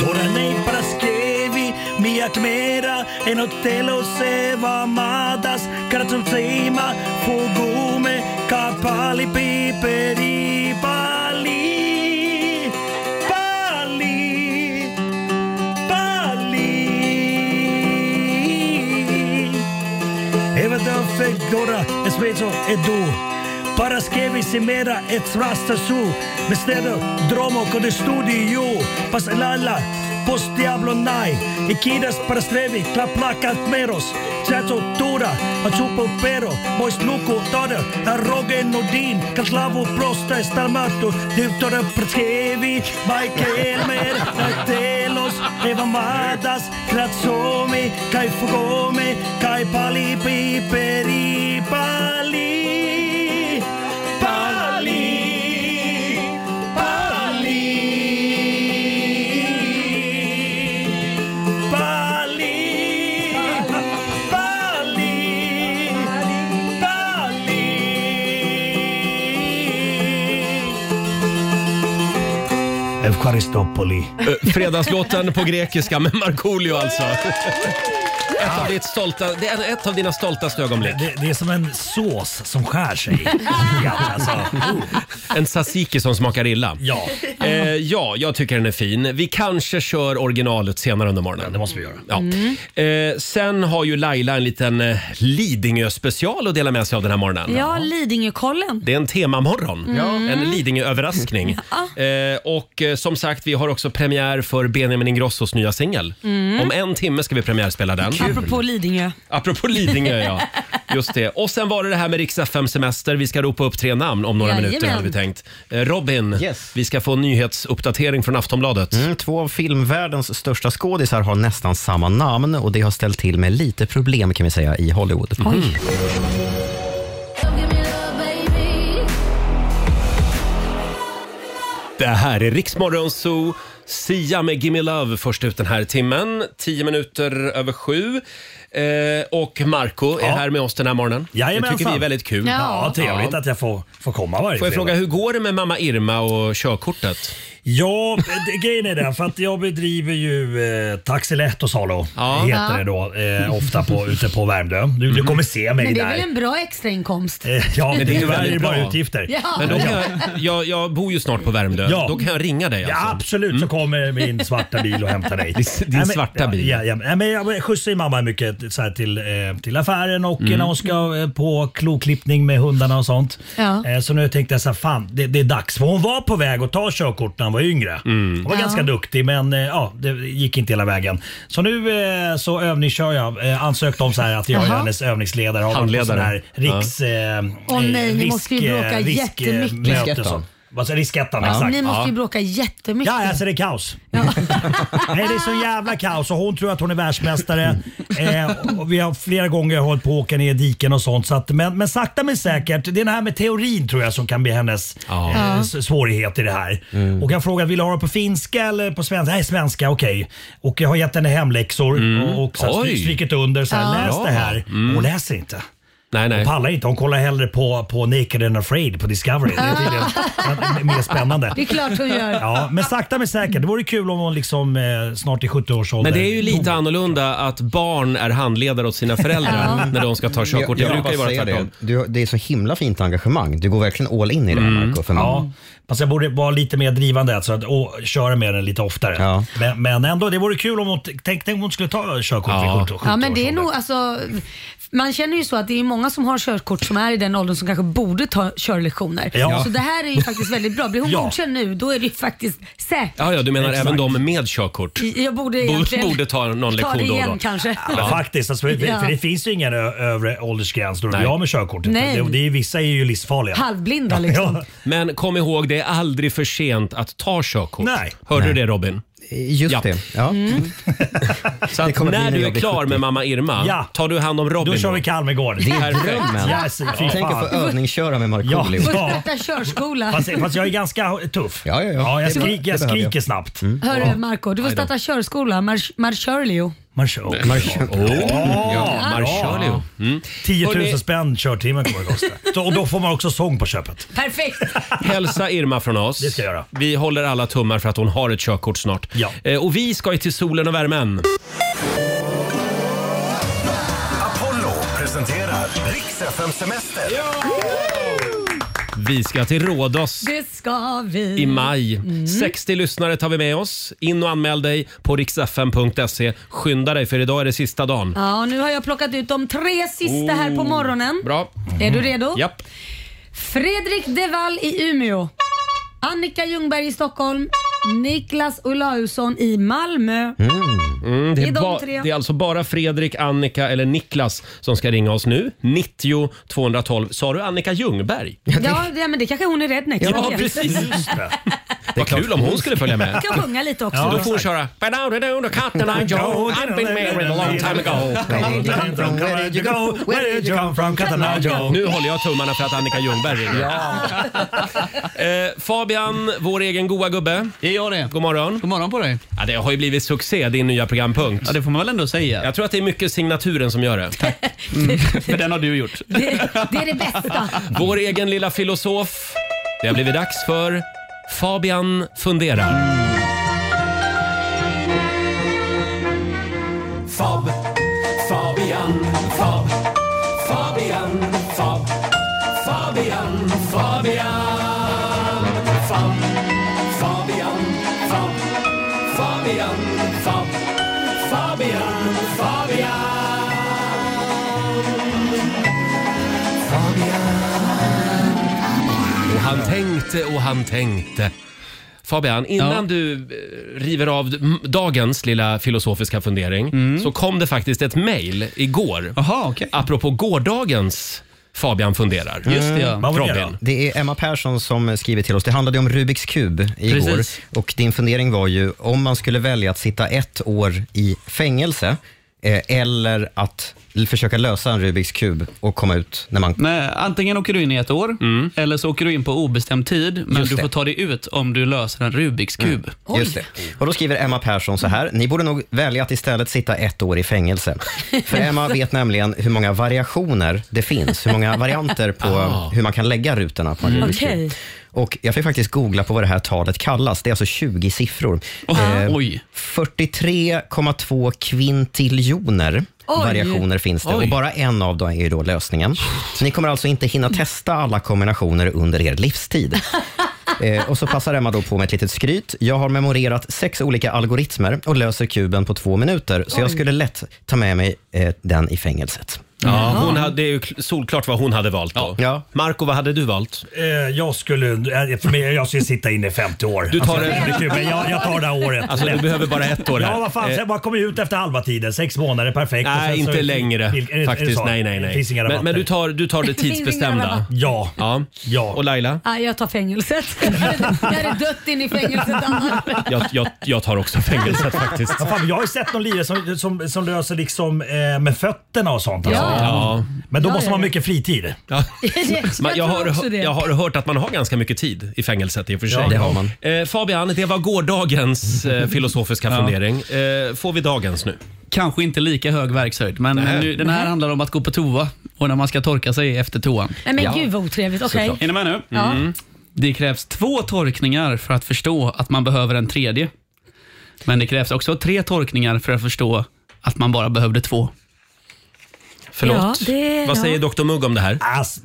Τώρα είναι η Παρασκευή, μία κμέρα ενώ τέλος εβδομάδας κράτσουν ψήμα φουγγούμε καπάλι πιπερί πάλι πάλι πάλι Även om Fedora är spetso är du. Paraskevy semera ett rasta su. Med städer, dromo, kode studio. Pas lalla, post diablo nai. Ikidas paraslevi, klaplakat meros. Chato tura, achupo pero. Moist luko tada, aroge nodin. Kaslavo prosta estalmato. Divtora praskevi, Michael mer. Telos, eva matas, kratsomi, kai fugomi, kai pali piperi pali. Pali, pali, pali, pali, pali. Evkaristopoli.
Eh, Fredagslåten på grekiska med Markoolio alltså. Ett av, ditt stolta, det är ett av dina stoltaste ögonblick.
Det, det är som en sås som skär
*laughs*
sig. ja, alltså.
En tzatziki som smakar illa.
ja,
Eh, ja, jag tycker den är fin. Vi kanske kör originalet senare under morgonen.
det måste vi göra. Mm.
Ja. Eh, sen har ju Laila en liten eh, Lidingö-special att dela med sig av den här morgonen.
Ja, Mm. Lidingökollen.
Det är en temamorgon. En
*laughs*
Lidingö-överraskning. Eh, och eh, som sagt, vi har också premiär för Benjamin Ingrossos nya singel. Om en timme ska vi premiärspela den.
Mm. Apropå Lidingö.
Apropå
*laughs*
Lidingö, ja. Just det. Och sen var det det här med riks FM-semester. Vi ska ropa upp tre namn om några
Jajamän.
minuter hade vi tänkt. Eh, Robin,
Yes.
vi ska få en nyhetsuppdatering från Aftonbladet.
Mm, två av filmvärldens största skådisar har nästan samma namn och det har ställt till med lite problem kan vi säga i Hollywood.
Mm.
Mm.
Det här är Riksmorgon Zoo. Sia med Gimme Love först ut den här timmen. Tio minuter över sju. Eh, och Marco är
Ja.
här med oss den här morgonen.
Jajamensan.
Det tycker vi är väldigt kul.
Ja.
Ja, trevligt
Ja.
att jag får, får komma varje
Får jag
fredag.
fråga, hur går det med mamma Irma och körkortet?
Ja, det, grejen är den för att jag bedriver ju eh, Taxilett och Salo.
Ja.
Heter
Ja.
det då. Eh, ofta på, ute på Värmdö. Du, du kommer se mig
Men det är
där.
väl en bra extrainkomst?
Eh, ja,
Men det är ju
tyvärr är det
väldigt
bara
bra.
utgifter.
Ja.
Men då kan jag, jag, jag bor ju snart på Värmdö.
Ja.
Då kan jag ringa dig
Ja,
alltså.
absolut så kommer min svarta bil och hämtar dig.
*laughs* Din- din
Nej, men-
svarta bil.
Ja, ja, ja, men jag skjutsar ju mamma mycket så här, till, eh, till affären och
Mm.
när hon ska eh, på kloklippning med hundarna och sånt.
Ja.
Eh, så nu tänkte jag så här, fan det, det är dags. För hon var på väg att ta körkort när hon var yngre.
Mm.
Hon var
Ja.
ganska duktig men eh, ja, det gick inte hela vägen. Så nu eh, så övningskör jag. Eh, ansökt om så här att jag är
Jaha.
hennes övningsledare. Har varit på
Handledare.
sån här riks... Eh,
Åh nej,
eh,
ni måste ju
risk, eh,
bråka
risk, eh,
jättemycket.
möte och
Riskettan.
sånt. Vad säger- Riskettan, exakt.
Ni måste ju
Ja.
bråka jättemycket.
Ja, alltså det är kaos. Nej, det är så jävla kaos och hon tror att hon
*laughs*
är världsmästare. Eh, och vi har flera gånger hållit på att åka ner i diken och sånt. Så att, men, men sakta men säkert, det är det här med teorin tror jag som kan bli hennes
Ja.
eh, s- svårighet i det här.
Mm.
Mm.
Och jag frågade, vill du ha det på finska eller på svenska? Nej, svenska, okej. Och jag har gett henne hemläxor och, och så här,
Mm. Oj.
stry- strykit under, så här, läs
Ja.
det här. Hon läser inte.
Nej, nej.
Pallar inte, hon kollar hellre på, på Naked and Afraid på Discovery. Det är
*laughs*
tydligen mer spännande.
Det är klart hon gör.
Ja, men sakta men säkert. Det vore kul om hon liksom eh, snart i 70-årsåldern.
Men det är ju lite annorlunda att barn är handledare åt sina föräldrar när de ska ta körkort. Det
Jag vill
brukar ju
bara
vara
säga
tvärtom.
det. Du, det är så himla fint engagemang. Du går verkligen all in i det här
Mm.
Marco. För mig.
Mm. Ja, fast jag borde vara lite mer drivande alltså, att- och köra med den lite oftare.
Ja.
Men, men ändå, det vore kul om hon... Tänk tänk om hon skulle ta körkort
Ja.
vid 70
Ja, men det är
70-årsåldern.
nog, alltså, man känner ju så att det är många som har körkort som är i den åldern som kanske borde ta körlektioner.
Ja.
Så det här är ju faktiskt väldigt bra. Blir
*laughs*
hon
Ja.
godkänd nu, då är det ju faktiskt säkert.
Ja, ja, du menar
Exakt.
även de med körkort?
Jag borde
Borde-
egentligen
borde ta någon lektion
det
då och
igen
då.
kanske.
Men faktiskt, alltså, för,
Ja.
för det finns ju ingen ö- övre åldersgräns då du
Nej.
blir av med körkortet.
Nej.
Det, det är, vissa är ju livsfarliga.
Halvblinda liksom.
*laughs* Ja.
Men kom ihåg, det är aldrig för sent att ta körkort.
Nej.
Hörde du det Robin?
Eh, Just
Ja.
det. Ja.
Mm.
*laughs*
Så att
kommer bli
när
när
du
jag
är
blir
klar
70.
med mamma Irma,
Ja.
tar du hand om Robin
Då kör vi Kalmegård. Det
Perfekt.
Drömmen.
Yes, fy
Tänk
fan.
att få övningsköra med Markoolio.
Ja.
Får starta körskola.
Fast, fast jag är ganska tuff.
Ja, ja, ja.
jag,
Det är bra.
skrik, jag
Det behöver
skriker
jag.
snabbt.
Mm.
Hörru Marco, du får starta körskola. Mar- Marcharlio.
Man kör.
Ja, Mm. Marchalio.
10 000
Hörrni.
spänn körtimmen kommer det kosta. Så- Och då får man också sång på köpet.
Perfekt!
Hälsa Irma från oss.
Det ska jag göra.
Vi håller alla tummar för att hon har ett körkort snart.
Ja.
Eh, Och vi ska ju till solen och värmen.
Apollo presenterar Riks FM Semester.
Vi ska till Rhodos.
Det ska vi.
i maj.
Mm.
60 lyssnare tar vi med oss. In och anmäl dig på riksfn.se. Skynda dig för idag är det sista dagen.
Ja, nu har jag plockat ut de tre sista här på morgonen.
Oh, Bra. Mm.
Är du redo?
Japp.
Fredrik Devall i Umeå. Annika Ljungberg i Stockholm. Niklas Olausson i Malmö.
Mm,
Det är de
ba-
tre.
det är alltså bara Fredrik, Annika eller Niklas som ska ringa oss nu. 90 212. Sa du Annika Ljungberg?
Ja, det, men det kanske hon är redneck.
Ja,
Vad vet jag?
precis.
*laughs*
Just det.
Vad kul om hon skulle följa med.
Kan sjunga lite också.
Då får hon köra... But now they know the cat and I Joe. I've been married a long time ago.
Where did you go? Where did you come from? Catanajo.
Nu håller jag tummarna för att Annika Ljungberg ringer. eh, Fabian, vår egen goa gubbe.
Är jag det?
God morgon.
God morgon på dig.
Ja, det har ju blivit succé, din nya programpunkt.
Ja, det får man väl ändå säga.
Jag tror att det är mycket signaturen som gör det.
För den har du gjort.
Det, det är det bästa.
Vår egen lilla filosof. Det har blivit dags för Fabian funderar. Fab, Fabian, Fab, Fabian, Fab, Fabian, Fabian, Fab, Fabian, Fab, Fabian, Fab, Fabian, Fabian. Och han tänkte och han tänkte. Fabian, innan
Ja.
du eh, river av d- m- dagens lilla filosofiska fundering så kom det faktiskt ett mejl igår.
Jaha, Mm. okej. Mm.
Apropå gårdagens Fabian funderar.
Just det, ja.
Vad var det
Robin.
då?
Det är Emma Persson som skriver till oss. Det handlade om Rubiks kub igår.
Precis.
Och din fundering var ju om man skulle välja att sitta ett år i fängelse eh, eller att l- försöka lösa en Rubiks kub och komma ut när man...
Men antingen åker du in i ett år, eller så åker du in på obestämd tid, men
Mm. Just
du
det. Mm.
får ta dig ut om du löser en Rubiks kub.
Just det. Och då skriver Emma Persson så här. Ni borde nog välja att istället sitta ett år i fängelse. För Emma vet nämligen hur många variationer det finns. Hur många varianter på hur man kan lägga rutorna på en Rubiks kub.
Okej.
Och jag fick faktiskt googla på vad det här talet kallas. Det är alltså 20 siffror. Eh,
Oj.
43,2 kvintiljoner
Oj.
variationer finns det
Oj.
och bara en av dem är ju då lösningen. Ni kommer alltså inte hinna testa alla kombinationer under er livstid. Eh, och så passar Emma då på med ett litet skryt. Jag har memorerat sex olika algoritmer och löser kuben på två minuter, så jag skulle lätt ta med mig eh, den i fängelset.
Ja, hon hade, det är ju kl- solklart vad hon hade valt då.
Ja.
Marco, vad hade du valt?
Eh, Jag skulle... eh, För mig, jag skulle sitta inne i 50 år. Du
tar det-
det. är kul, Men jag, jag tar det här året.
Alltså, du
Lätt.
behöver bara ett år
Ja,
här.
vad fan.
Eh,
Sen bara kom jag ut efter halva tiden. Sex månader, perfekt. Och
Nej,
sen alltså, så-
inte längre
Vil- är det- är det
faktiskt.
så?
Nej, nej,
Det
nej.
finns inga
men
rabatter.
men du, tar, du tar det
finns inga
tidsbestämda.
rabatter.
Ja.
Ja.
Ja.
Och Laila?
Ah, jag tar
*laughs*
fängelset. jag hade dött in i fängelset annars.
Jag, jag, jag tar också fängelset faktiskt.
Ja, fan, jag har ju sett någon lirare som, som, som löser liksom eh, med fötterna och sånt. Alltså.
Ja.
Men då
Ja,
måste man
ja,
ha
ja. *laughs*
mycket fritid.
Det-
Man, jag,
tror
har,
också
hö-
det.
jag har hört att man har ganska mycket tid i fängelset i och för sig.
det har man.
Eh, Fabian, det var
*laughs*
gårdagens eh, filosofiska fundering. Eh, får vi dagens nu?
Kanske inte lika hög verkshöjd, men nu, den här handlar om att gå på toa och när man ska torka sig efter toan.
Nej men gud vad otrevligt. Okej.
Är ni med nu? Mm.
Ja.
Det krävs två torkningar för att förstå att man behöver en tredje. Men det krävs också tre torkningar för att förstå att man bara behövde två.
Förlåt?
Ja, det-
Vad
ja.
säger Dr Mugg om det här?
Alltså,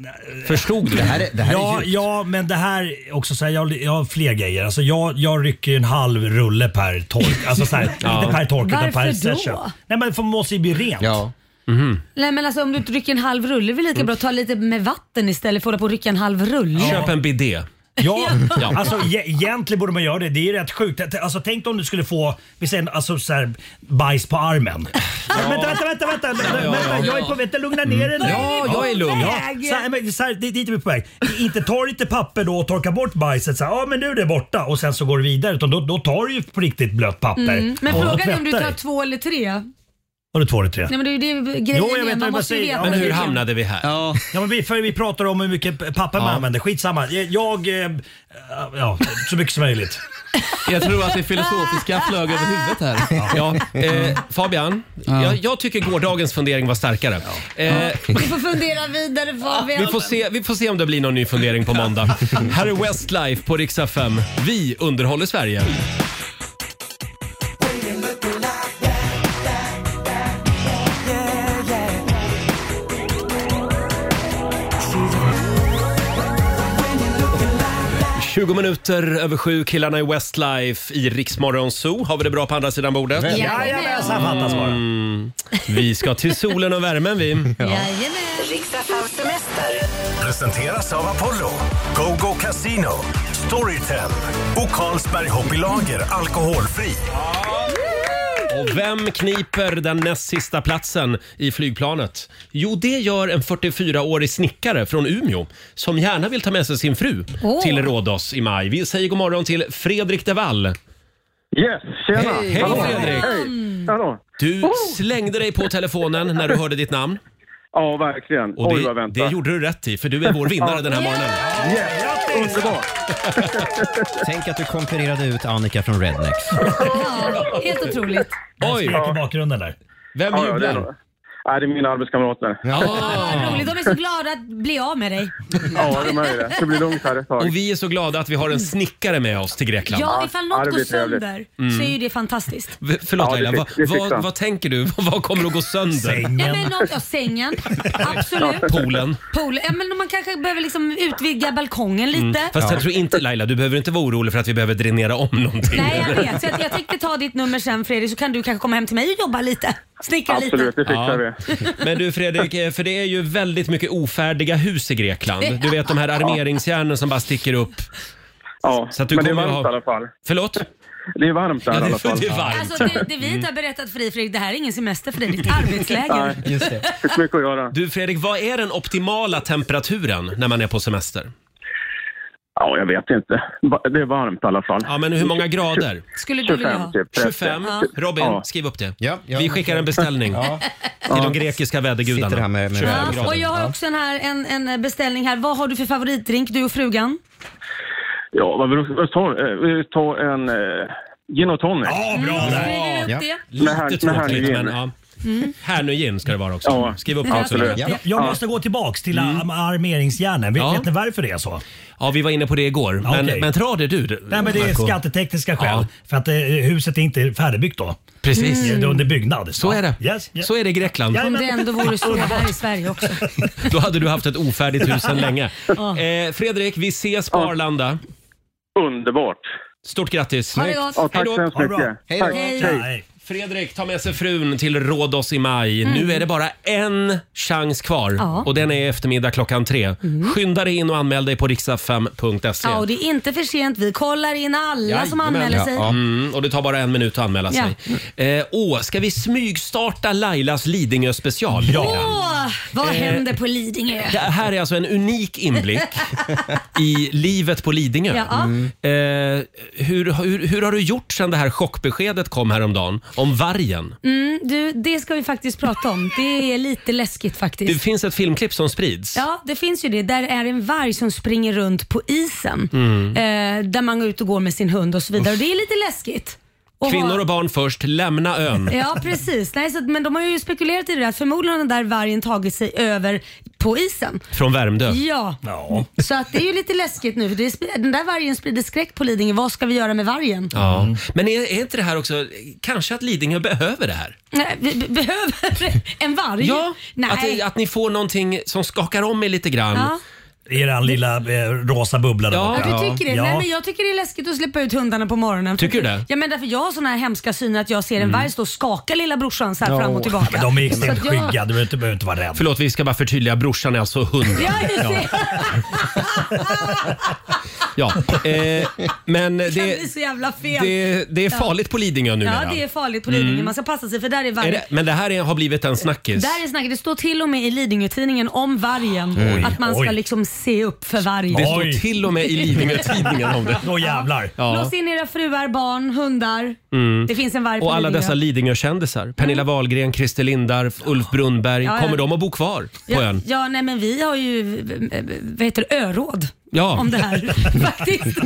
Förstod du?
Det här är, det här
ja,
är ju...
ja, men det här är också så här, jag, jag har fler grejer. Alltså, jag, jag rycker ju en halv rulle per tork. Alltså, så
*laughs*
här, Inte per tork utan per
Varför då?
session. Nej, men för man måste ju bli rent.
Ja.
Mhm.
Nej men alltså om
Mm.
du inte rycker en halv rulle Mm. är väl lika bra att ta lite med vatten istället för att hålla på och rycka en halv rulle. *laughs*
Köp en bidé.
Ja,
Ja.
alltså e- egentligen borde man göra det. Det är rätt sjukt. Att- Alltså, tänk om du skulle få vi säger, alltså, så här, bajs på armen.
Ah,
Vänta, vänta, vänta, vänta, vänta,
ja,
vänta.
ja.
Jag är på väg. Lugna ner dig nu.
Ja, jag är lugn.
Ja, så här, men, så här, det- dit är vi på väg. Inte ta lite papper då och torka bort bajset. Så här, ja, men nu är det borta och sen så går du vidare. Utan då, då tar du ju på riktigt blött papper.
Mm. Men
och
frågan är om
tvättar
du tar
dig.
två eller tre?
Har du två eller tre?
Nej men det är ju det grejen
Jo, jag
är.
vet vad
Man
jag
måste ju
säger.
veta.
Men hur
vilken-
hamnade vi här?
Ja.
Ja, men vi, för vi pratar om hur mycket papper man använder. Skitsamma. Jag... eh, eh, Ja, så mycket som möjligt.
Jag tror att det filosofiska flög över huvudet här.
Ja, eh, Fabian, jag, jag tycker gårdagens fundering var starkare. Eh,
*laughs* Du får fundera vidare Fabian.
vi, får se, vi får se om det blir någon ny fundering på måndag. Här är Westlife på Rix FM. Vi underhåller Sverige. ...20 minuter över sju, killarna i Westlife i Riksmorgon Zoo. Har vi det bra på andra sidan bordet? Mm.
Jajamensan, fattas bara.
Vi ska till solen och värmen vi.
Jajamän.
Riksdagens semester. Presenteras av Apollo, GoGo Casino, Storytel och Carlsberg Hobbylager Alkoholfri.
Och vem kniper den näst sista platsen i flygplanet? Jo, det gör en 44-årig snickare från Umeå som gärna vill ta med sig sin fru
Åh.
till Rhodos i maj. Vi säger god morgon till Fredrik de Wall.
Yes, tjena!
Hej, hej,
Hallå. Oh.
Fredrik.
Hej! Hallå!
Du slängde dig på telefonen när du hörde ditt namn.
Ja, verkligen.
Och
Oj, vad
det,
vänta.
det gjorde du rätt i, för du är vår vinnare den här morgonen.
Underbart!
Tänk att du konkurrerade ut Annika från Rednex.
*laughs* Ja, helt otroligt.
Oj,
Skrek i bakgrunden där.
vem
Ja, ja, det, är,
jublar?
nog- Nej, det är mina arbetskamrater. Ja,
Vad roligt. De är så glada att bli av med dig.
de är ju det. Det blir lugnt här ett tag.
Och vi är så glada att vi har en snickare med oss till Grekland. Mm.
Ja, ifall
Ja,
något
det
går
blir trevligt.
sönder så är ju det fantastiskt.
V- Förlåt
Ja, det
Laila,
fick-
vad,
det fick
vad,
han.
vad tänker du? Vad kommer att gå sönder?
Ja,
Sängen.
men något, ja, sängen,
*laughs*
absolut.
Poolen? Mm.
Pool. Ja, men man kanske behöver liksom utvidga balkongen lite.
Mm. Fast jag tror inte Laila, du behöver inte vara orolig för att vi behöver dränera om någonting.
Nej, jag vet. Så jag, jag tänkte ta ditt nummer sen Fredrik så kan du kanske komma hem till mig och jobba lite. Snickra
Absolut,
lite.
det fixar vi.
Ja. Men du Fredrik, eh, för det är ju väldigt mycket ofärdiga hus i Grekland. Du vet de här armeringsjärnen som bara sticker upp.
Ja,
Så att du
men det är
kommer
varmt
att
i
ha-
alla fall.
Förlåt?
Det är varmt där
Ja,
i
det,
alla fall.
det är varmt.
Alltså det, det vi inte har berättat för dig Fredrik, det här är ingen semester för dig, det är ditt arbetsläger.
Nej,
Just det.
det är så mycket att göra.
Du Fredrik, vad är den optimala temperaturen när man är på semester?
Ja, jag vet inte. Va- Det är varmt i alla fall.
Ja, men hur många grader?
Skulle du vilja
25
ha?
typ. 30.
25?
Ja.
Robin,
Ja.
skriv upp det.
Ja, ja.
Vi skickar en beställning
Ja.
till de grekiska vädergudarna.
Sitter här med- med-
25
Ja,
grader.
och jag har också en, här, en, en beställning här. Vad har du för favoritdrink, du och frugan?
Ja, vad vill du? Ta, eh, vi tar en eh, gin och tonic.
Ja, bra
Mm,
där.
skriver du upp det?
Med här-
Lite
med här
tråkigt,
gin.
men ja.
Mm.
Härnögin ska det vara också.
Ja.
Skriv upp
Ja,
det också.
absolut.
Laila.
Ja.
Jag, jag måste gå tillbaks till mm. armeringsjärnen. Vet,
Ja.
vet ni varför det är så?
Ja, vi var inne på det igår. Men,
okej.
men dra det du.
Nej, men det är
Marco.
skattetekniska skäl.
Ja.
För att eh, huset är inte färdigbyggt då. Mm.
Precis.
Det är under byggnad.
Så är det.
Yes, yes.
Så är det i Grekland.
Ja.
Om det ändå vore så här i Sverige
*laughs*
också.
Då hade du haft ett ofärdigt hus sedan länge. Eh, Fredrik, vi ses på Arlanda.
Underbart.
Stort grattis.
Ha det gott.
Ja,
Hej
tack
då.
så hemskt
Ha det
mycket.
Hej då.
Tack.
Hej.
Nej.
Fredrik tar med sig frun till Rhodos i maj. Nu är det bara en chans kvar
Mm. Ja. Mm.
och den är i eftermiddag klockan tre. Skynda dig in och anmäl dig på riksfm.se.
Ja, och det är inte för sent. Vi kollar in alla som
Jajamän.
anmäler sig.
Mm, och det tar bara en minut att anmäla
Ja.
sig. Eh, åh, ska vi smygstarta Lailas Lidingö special?
Åh, vad händer på Lidingö?
Eh, Det här är alltså en
*laughs*
unik inblick i livet på Lidingö.
Ja. Mm.
Eh, hur, hur, hur har du gjort sen det här chockbeskedet kom häromdagen om vargen?
Mm, du, det ska vi faktiskt prata om. Det är lite läskigt faktiskt.
Det finns ett filmklipp som sprids.
Ja, det finns ju det. Där är en varg som springer runt på isen.
Mm.
Eh, där man går ut och går med sin hund och så vidare. Och det är lite läskigt. att ha-
Kvinnor och barn först, lämna ön.
Ja precis, Nej, så, att- men de har ju spekulerat i det där att förmodligen har den där vargen tagit sig över på isen.
Från Värmdö.
Ja,
Ja.
så att det är ju lite läskigt nu. För det är, sp- den där vargen sprider skräck på Lidingö. Vad ska vi göra med vargen?
Ja.
Mm.
Men är, är inte det här också, kanske att Lidingö behöver det här?
Nej, vi be- behöver *laughs* en varg?
Ja,
Nej.
att, det- att ni får någonting som skakar om er lite grann.
Ja.
I den lilla eh, rosa bubblan där
Ja.
borta.
Ja, du tycker det?
Ja.
Nej, men jag tycker det är läskigt att släppa ut hundarna på morgonen.
Tycker du det? Mm.
Ja, men därför jag har såna här hemska syner att jag ser en varg stå och skaka lilla brorsan så här fram och tillbaka.
Men de är extremt
Så att jag-
skygga. Du behöver inte, behöver inte vara rädd.
*laughs*
Förlåt, vi ska bara förtydliga. Brorsan är alltså hund.
Ja, just det.
Ja, eh, men
kan
det,
bli så jävla fel.
det, det är
Ja.
farligt på Lidingö nu
Ja, det är farligt på Lidingö.
Mm.
Man ska passa sig för där är
Är
vargen.
det, men det här är, har blivit en snackis.
Där är snacket. Det står till och med i Lidingö-tidningen om vargen.
Oj.
att man ska
Oj.
liksom se upp för vargen.
Det står till och med i Lidingö-tidningen
*laughs*
om det.
Då jävlar.
Ja.
Lås in era fruar, barn, hundar.
Mm.
Det finns en varg på
Och alla
Lidingö. Mm.
dessa Lidingö-kändisar. Pernilla Wahlgren, Christer Lindarw, Ulf Brunnberg.
Ja, ja.
Kommer de att bo kvar på
Ja,
ön?
ja, nej men vi har ju eh, vad heter det, öråd
Ja.
om det
*laughs*
här faktiskt.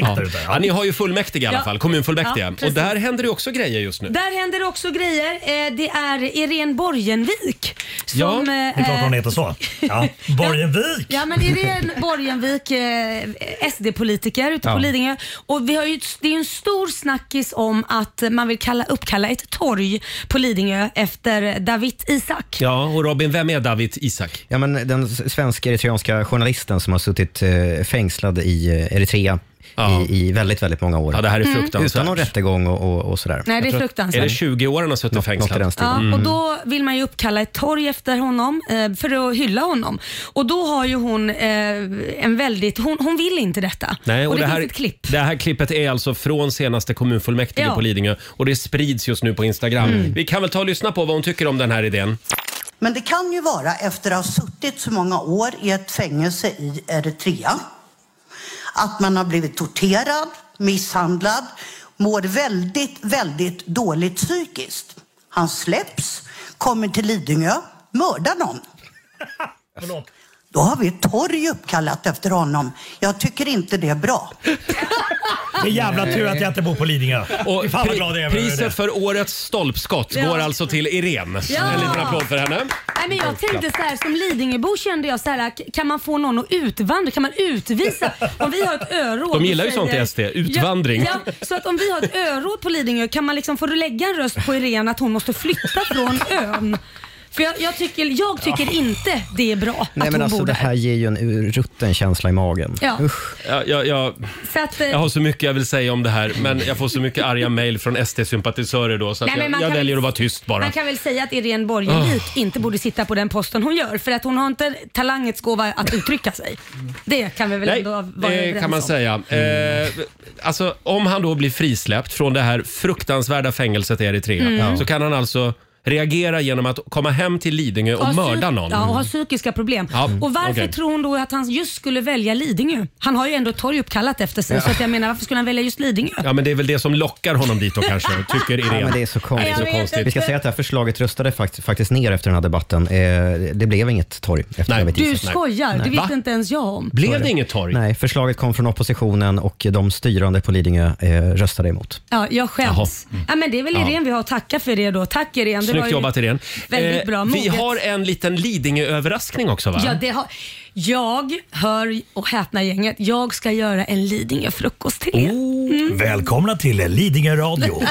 Ja. Ja, ni har ju fullmäktige i alla
Ja.
fall, kommunfullmäktige.
Ja, precis.
och där händer det också grejer just nu.
Där händer också grejer. Eh, Det är Irene Borgenvik som... eh,
Ja, det
Det är klart hon
*laughs*
heter så. Ja. Borgenvik!
Ja men Irene Borgenvik, eh, SD-politiker ute på
Ja.
Lidingö. Och vi har ju, ett- det är ju en stor snackis om att man vill kalla, uppkalla ett torg på Lidingö efter David Isak.
Ja, och Robin, vem är David Isak?
Ja, men den s- svenska eritreanska journalisten som har suttit eh, fängslad i eh, Eritrea i, i väldigt, väldigt många år. Ja,
det här är Mm. fruktansvärt.
Utan någon rättegång och, och, och sådär.
Nej, det är
Jag tror att-
fruktansvärt. Är det
20 år han har suttit
fängslad? Något i den stilen. Mm.
Ja, och då vill man ju uppkalla ett torg efter honom eh, för att hylla honom. Och då har ju hon eh, en väldigt, hon, hon vill inte detta. och det,
här,
finns ett klipp.
det här klippet är alltså från senaste kommunfullmäktige
Ja.
på Lidingö och det sprids just nu på Instagram.
Mm.
Vi kan väl ta och lyssna på vad hon tycker om den här idén.
Men det kan ju vara efter att ha suttit så många år i ett fängelse i Eritrea. Att man har blivit torterad, misshandlad, mår väldigt, väldigt dåligt psykiskt. Han släpps, kommer till Lidingö, mördar någon. Då har vi ett torg uppkallat efter honom. Jag tycker inte det är bra.
Det är jävla tur att jag inte bor på Lidingö.
Och
Fan vad
pri-
glad jag är över det.
priset för årets stolpskott
Ja.
går alltså till Irene.
Ja.
En liten applåd för henne.
Nej, men jag tänkte så här, som Lidingöbo kände jag så här, kan man få någon att utvandra? Kan man utvisa? Om vi har ett öråd
De gillar ju
och
sånt i
säger-
SD, utvandring.
Ja, ja, så att om vi har ett öråd på Lidingö, kan man liksom, får du lägga en röst på Irene att hon måste flytta från ön? För jag, jag tycker, jag tycker inte det är bra
Nej,
att
men
hon
alltså
bor
det
där.
här ger ju en rutten känsla i magen.
Ja.
Ja, jag, jag,
Så att, eh,
jag har så mycket jag vill säga om det här men jag får så mycket arga mejl från SD-sympatisörer då så att
Nej, men man
jag, jag
kan
väljer
väl-
att vara tyst bara.
Man kan väl säga att Irene Borgenvik
Ah.
inte borde sitta på den posten hon gör för att hon har inte talangets gåva att uttrycka sig. Det kan vi väl
Nej,
ändå vara
det
överens
kan man
om.
säga. Eh, alltså, om han då blir frisläppt från det här fruktansvärda fängelset i Eritrea
Mm.
så kan han alltså reagera genom att komma hem till Lidingö och
Har
mörda
psyk-
någon.
Ja, och har psykiska problem.
Ja,
och varför
okej.
tror hon då att han just skulle välja Lidingö? Han har ju ändå ett torg uppkallat efter sig
Ja.
så att jag menar varför skulle han välja just Lidingö?
Ja, men det är väl det som lockar honom dit då kanske, tycker Irene.
Ja, men det är så
Ja,
konstigt.
jag vet inte.
Vi ska säga att det här förslaget röstade fakt- faktiskt ner efter den här debatten. Eh, det blev inget torg. Efter Nej.
Du skojar, det visste inte ens jag om.
inget torg?
Nej, förslaget kom från oppositionen och de styrande på Lidingö eh, röstade emot.
Ja, jag skäms. Mm. Ja, men det är väl
Ja.
Irene vi har att tacka för det då. Tack Irene. Det var
Snyggt
ju
jobbat Irene.
Väldigt
Eh,
bra.
vi
moget.
har en liten Lidingö-överraskning också va?
Ja, det har... Jag, hör och häpna gänget, jag ska göra en Lidingö-frukost till
Oh.
er. Mm.
Välkomna till Lidingö radio.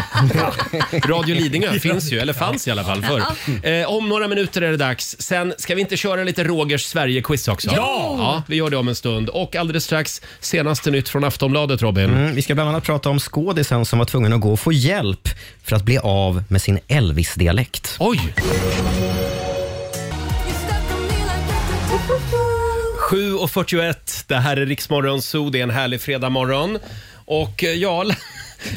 *laughs* Radio Lidingö finns ju, eller fanns i alla fall förr. Eh, om några minuter är det dags. Sen ska vi inte köra lite Rogers Sverige-quiz också?
Ja!
ja! Vi gör det om en stund. Och alldeles strax senaste nytt från Aftonbladet, Robin.
Mm, vi ska bland annat prata om skådisen som var tvungen att gå och få hjälp för att bli av med sin Elvis-dialekt.
Oj! 7.41, det här är Riksmorgon Zoo, det är en härlig fredagmorgon. Och eh, ja, *laughs* La-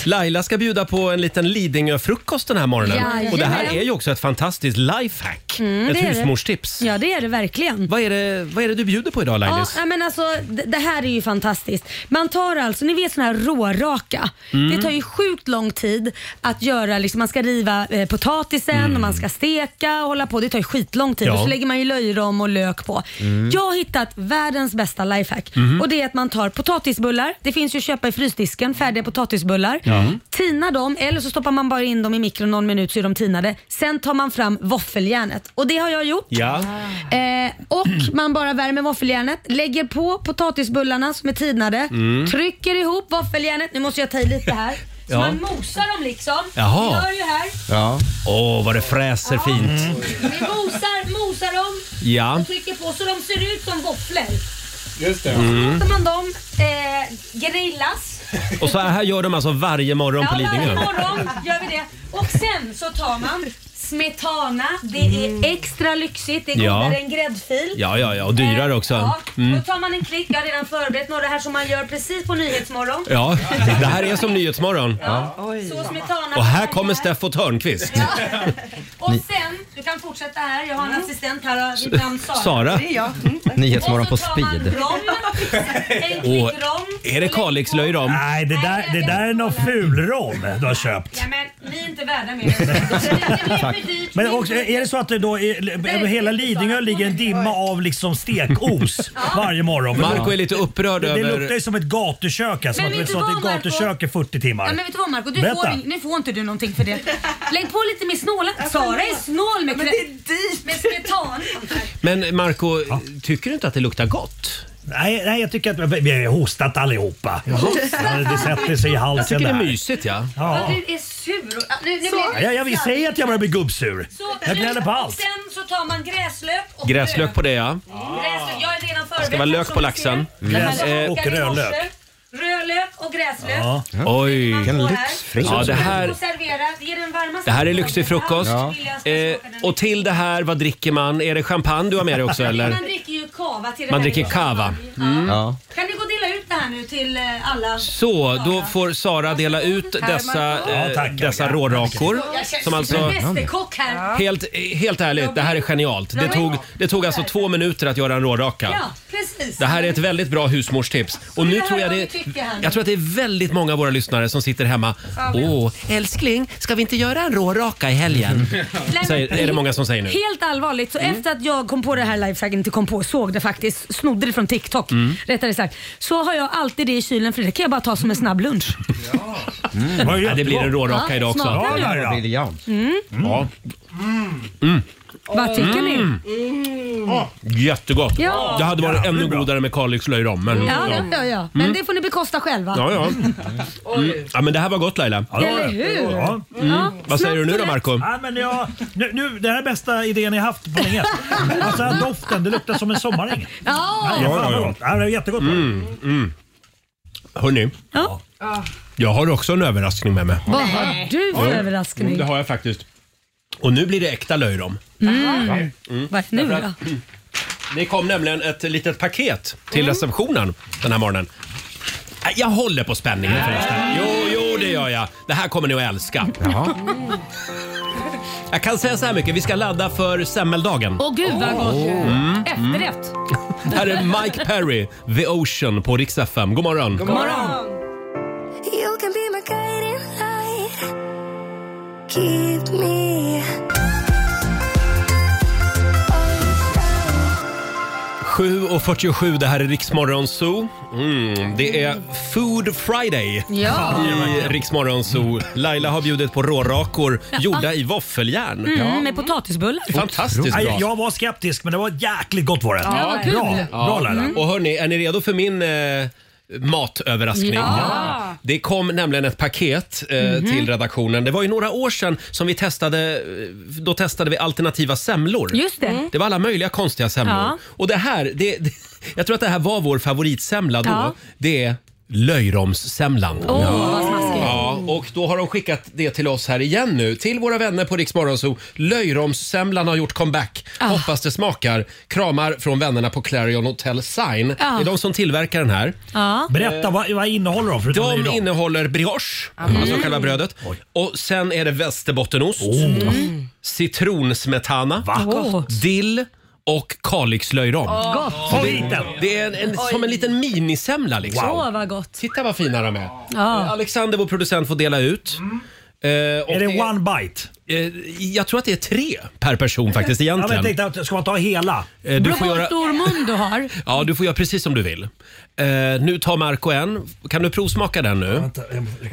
Laila ska bjuda på en liten Lidingö-frukost den här morgonen.
Jajamän.
Och det här är ju också ett fantastiskt lifehack.
Mm, det
ett
är det.
husmorstips.
Ja, det är det verkligen.
Vad är det, vad är det du bjuder på idag Lailis?
Ja, nej, men alltså, d- det här är ju fantastiskt. Man tar alltså, ni vet sån här råraka.
Mm.
Det tar ju sjukt lång tid att göra, liksom, man ska riva eh, potatisen och man ska steka och hålla på. Det tar ju skitlång tid
Mm. Ja.
och så lägger man ju löjrom och lök på.
Mm.
Jag har hittat världens bästa lifehack
Mhm.
och det är att man tar potatisbullar. Det finns ju att köpa i frysdisken, färdiga potatisbullar.
Ja.
Tina dem eller så stoppar man bara in dem i mikron någon minut så är de tinade. Sen tar man fram våffeljärnet och det har jag gjort.
Ja.
Eh, och man bara värmer våffeljärnet, lägger på potatisbullarna som är tinade,
Mm.
trycker ihop våffeljärnet. Nu måste jag ta i lite här. Så
Ja.
man mosar dem liksom.
Jaha.
Gör ju här.
Ja. Åh, vad det fräser fint.
Mm. Vi mosar, mosar dem
Ja.
och trycker på så de ser ut som våfflor.
Just det.
Så
Mm.
låter man dem eh, grillas.
Och så här gör de alltså varje morgon på
Ja, varje
Lidingö.
morgon gör vi det. Och sen så tar man smetana, det är extra lyxigt, det är
Mm. Ja.
godare än gräddfil. Eh,
Ja, ja, ja, och dyrare också.
Ja,
Mm.
då tar man en klick. Jag har redan förberett några här som man gör precis på Nyhetsmorgon.
Ja, det här är som Nyhetsmorgon.
Så smetana.
Och här kommer Steffo Törnqvist.
Och sen, du kan fortsätta här. Jag har en assistent här. Mitt namn Sara.
Sara.
Det är jag. Mm, tack.
Nyhetsmorgon
Och så
på
tar man
speed.
rom. En
Och
klick rom.
är det Kalixlöjrom?
Nej, det där, det där är någon fulrom du har köpt.
Ja, men ni är inte värda
*laughs*
mer än så. Det blir för dyrt.
Men också, är det så att det då är, över hela Lidingö ligger en dimma av
*laughs*
liksom stekos varje morgon?
Marco är lite upprörd
det, det
över-
Det luktar ju som ett gatukök. Alltså,
Men
att det
vet du
så att det är
vad, Marco?
gatukök i 40 timmar.
Ja, men vet du vad Marco, du
Berätta.
får, ing- nu får inte du någonting för det. Lägg på lite mer snåla. Sara är snål med, krä- med smetan.
Men Marco, tycker du inte att det luktar gott?
Nej, nej, jag tycker att vi- vi har hostat allihopa. Ja, Det sätter sig i halsen
Jag tycker det
där.
är mysigt, ja.
Ja.
Ja.
Du är sur. och- Ja, Nu, nu
Ja, jag, jag vill säga att jag börjar bli gubbsur.
Så-
Jag gnäller på
Och
allt.
sen så tar man gräslök och
Gräslök på det, ja.
röd. Gräslök. Jag är redan förberedd.
Det ska vara lök på laxen.
Mm.
Gräs
Eh,
och rödlök. Rödlök och gräslök.
Ja. Oj.
Och här.
Ja, det här...
Och servera. Det är den varmaste
Det här är lyxig frukost.
Ja. Billigaste
Eh, och till det här, vad dricker man? Är det champagne du har med dig också eller?
Man dricker ju kava till det
Man
här.
dricker cava. Mm.
Kan ni gå och dela ut det här nu till eh, alla?
Så, då får Sara dela ut
Här, Marco.
dessa, eh,
Ja, tack,
dessa rårakor.
Jag känner
Som
mig som
alltså,
en mästerkock här.
helt, helt ärligt, det här är genialt. Det tog, det tog alltså två minuter att göra en råraka.
Ja, precis.
Det här är ett väldigt bra husmorstips. Och nu tror jag, det, jag tror att det är väldigt många av våra lyssnare som sitter hemma. Åh, älskling, ska vi inte göra en råraka
*laughs*
i helgen? Säger, är det många som säger nu.
Helt allvarligt, så
Mm.
efter att jag kom på det här lifehacken, inte kom på, såg det faktiskt, snodde det från TikTok
Mm.
rättare sagt. Så har jag alltid det i kylen för det kan jag bara ta som en snabb lunch.
Mm. Ja, det blir en råraka
Ja,
idag också.
smakar det? Ja, ja, ja.
Briljant.
Mm.
Ja. Mm.
Vad tycker ni?
Mm. Jättegott.
Ja.
Det hade varit ännu godare med Kalix löjrom. Men,
Ja, ja, ja, ja. Men
Mm.
det får ni bekosta själva.
Ja,
*laughs*
ja. Mm. ja, men det här var gott Laila.
Eller hur?
Ja. Mm. Vad säger du nu då Marco?
Ja, men jag, nu, nu, det här är bästa idén jag haft på länge. Alltså doften, det luktar som en sommaräng.
Ja.
Ja, ja, ja. ja, det är jättegott.
Mm, mm. Hörni,
Ja.
jag har också en överraskning med mig.
Vad har du för
Ja. Mm,
överraskning?
Det har jag faktiskt. Och nu blir det äkta löjrom.
Mm.
Mm.
Vad är det nu
Därför
då?
att- Det kom nämligen ett litet paket
Mm.
till receptionen den här morgonen. Äh, Jag håller på spänningen förresten. Jo, jo, det gör jag. Det här kommer ni att älska. Mm. Jag kan säga så här mycket, vi ska ladda för semmeldagen.
Åh gud vad gott!
Mm, mm.
Efterrätt.
Här är Mike Perry, The Ocean på Rix FM. God morgon.
God morgon.
You can be my guiding light. Keep me.
7.47, det här är Riksmorgon Zoo. Mm, det är Food Friday
Ja.
i Riksmorgon Zoo. Laila har bjudit
*laughs*
på rårakor
Ja.
gjorda i våffeljärn.
Mm, med potatisbullar.
Fantastiskt bra.
Ja, Jag var skeptisk men det var jäkligt gott var det.
Ja, Mm. kul.
bra, bra Laila.
Och hörni, är ni redo för min eh, matöverraskning?
Ja. Mhm.
Det kom nämligen ett paket eh, till redaktionen. Det var ju några år sedan som vi testade, eh, då testade vi alternativa semlor.
Just det. Mm.
Det var alla möjliga konstiga semlor.
Ja.
Och det här, det, det, jag tror att det här var vår favoritsemla då.
Ja.
Det är löjromssemlan.
Åh, vad smaskigt.
ja, och då har de skickat det till oss här igen nu. Till våra vänner på Rix Morgon Zoo. Löjromssemlan har gjort comeback.
Ah.
Hoppas det smakar. Kramar från vännerna på Clarion Hotel Sign.
Ah.
Det är de som tillverkar den här.
Ja.
Berätta, vad, vad innehåller de? förutom
De
löjrom?
innehåller brioche,
Mm.
alltså själva brödet. Och sen är det västerbottenost,
Oh. Mm.
citronsmetana, dill och kalixlöjrom.
Åh. Gott.
Så Det,
Favoriten.
det är en, en, som en liten minisemla liksom.
Åh vad gott.
Titta vad fina de är.
Ja.
Eh, Alexander, vår producent, får dela ut.
Mm.
Eh, är det,
one bite?
Eh, jag tror att det är tre per person faktiskt egentligen.
*laughs* Ja, men jag tänkte att ska man ta hela?
Eh, du får göra-
stor mun du har.
Ja, du får göra precis som du vill. Eh, nu tar Marco en. Kan du provsmaka den nu?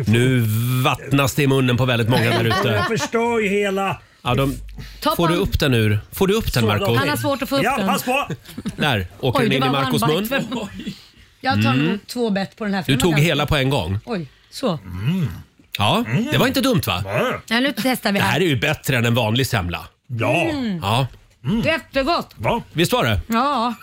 Nu vattnas det i munnen på väldigt *laughs* många där ute.
*laughs* Jag förstör ju hela.
Ja, de,
Ta på
får du
en-
upp den ur? Får du upp den Marco?
Han har svårt att få upp
Ja,
den.
pass på!
Där åker
Oj,
den
det
in i
var
Marcos
one
mun.
bite *laughs* Jag tar
Mm.
nog två bett på den här. för
Du
den var
tog
ganska-
hela på en gång.
Oj, så.
Mm. Ja, det var inte dumt va?
Ja, nu testar vi
Det här
här.
är ju bättre än en vanlig semla.
Mm.
Ja.
Jättegott.
Visst var det?
Ja.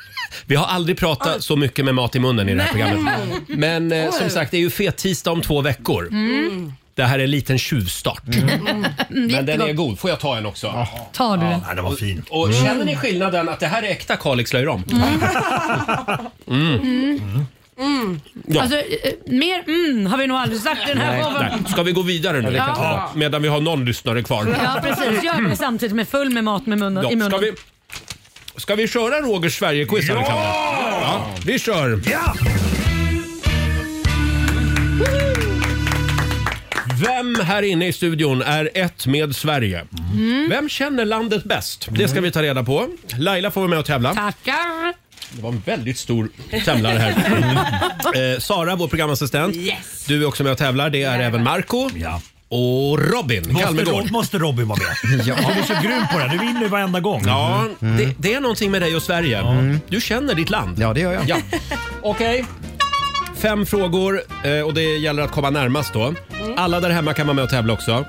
Vi har aldrig pratat så mycket med mat i munnen i det här eh,
Nej.
programmet. Men eh, som sagt, det är ju fet tisdag om två veckor.
Mm.
Det här är en liten tjuvstart. Men den
jättegott.
är god. Får jag ta en också?
Tar du den?
Ja, det var Mm. fint. Och känner ni skillnaden att det här är äkta Kalix löjrom? Mm.
Mm. Mm.
Ja.
Alltså, eh, mer mm har vi nog aldrig sagt i den här
Nej.
showen.
Nej. Ska vi gå vidare nu?
Ja. Ja.
Medan vi har någon lyssnare kvar.
Ja precis, gör det samtidigt med full med mat med munnen,
Ja,
i munnen.
ska, vi, ska vi köra Roger Sverige-quiz? Ja! ja! Vi kör! Vem här inne i studion är ett med Sverige?
Mm.
Vem känner landet bäst? Det ska vi ta reda på. Laila får vara med och tävla.
Tackar!
Det var en väldigt stor
*laughs*
tävlare här. eh, Sara, vår programassistent.
Yes.
Du är också med och tävlar. Det är även Marco och Robin
Måste,
Kalmegård.
Rob, måste Robin vara med?
*laughs* Ja.
Du är så grym på det. Du vinner ju varenda gång. Mm.
Ja, det, det är någonting med dig och Sverige. Du känner ditt land. Ja, det gör jag. Ja. Okej. Fem frågor eh, och det gäller att komma närmast då. Alla där hemma kan vara med och tävla också.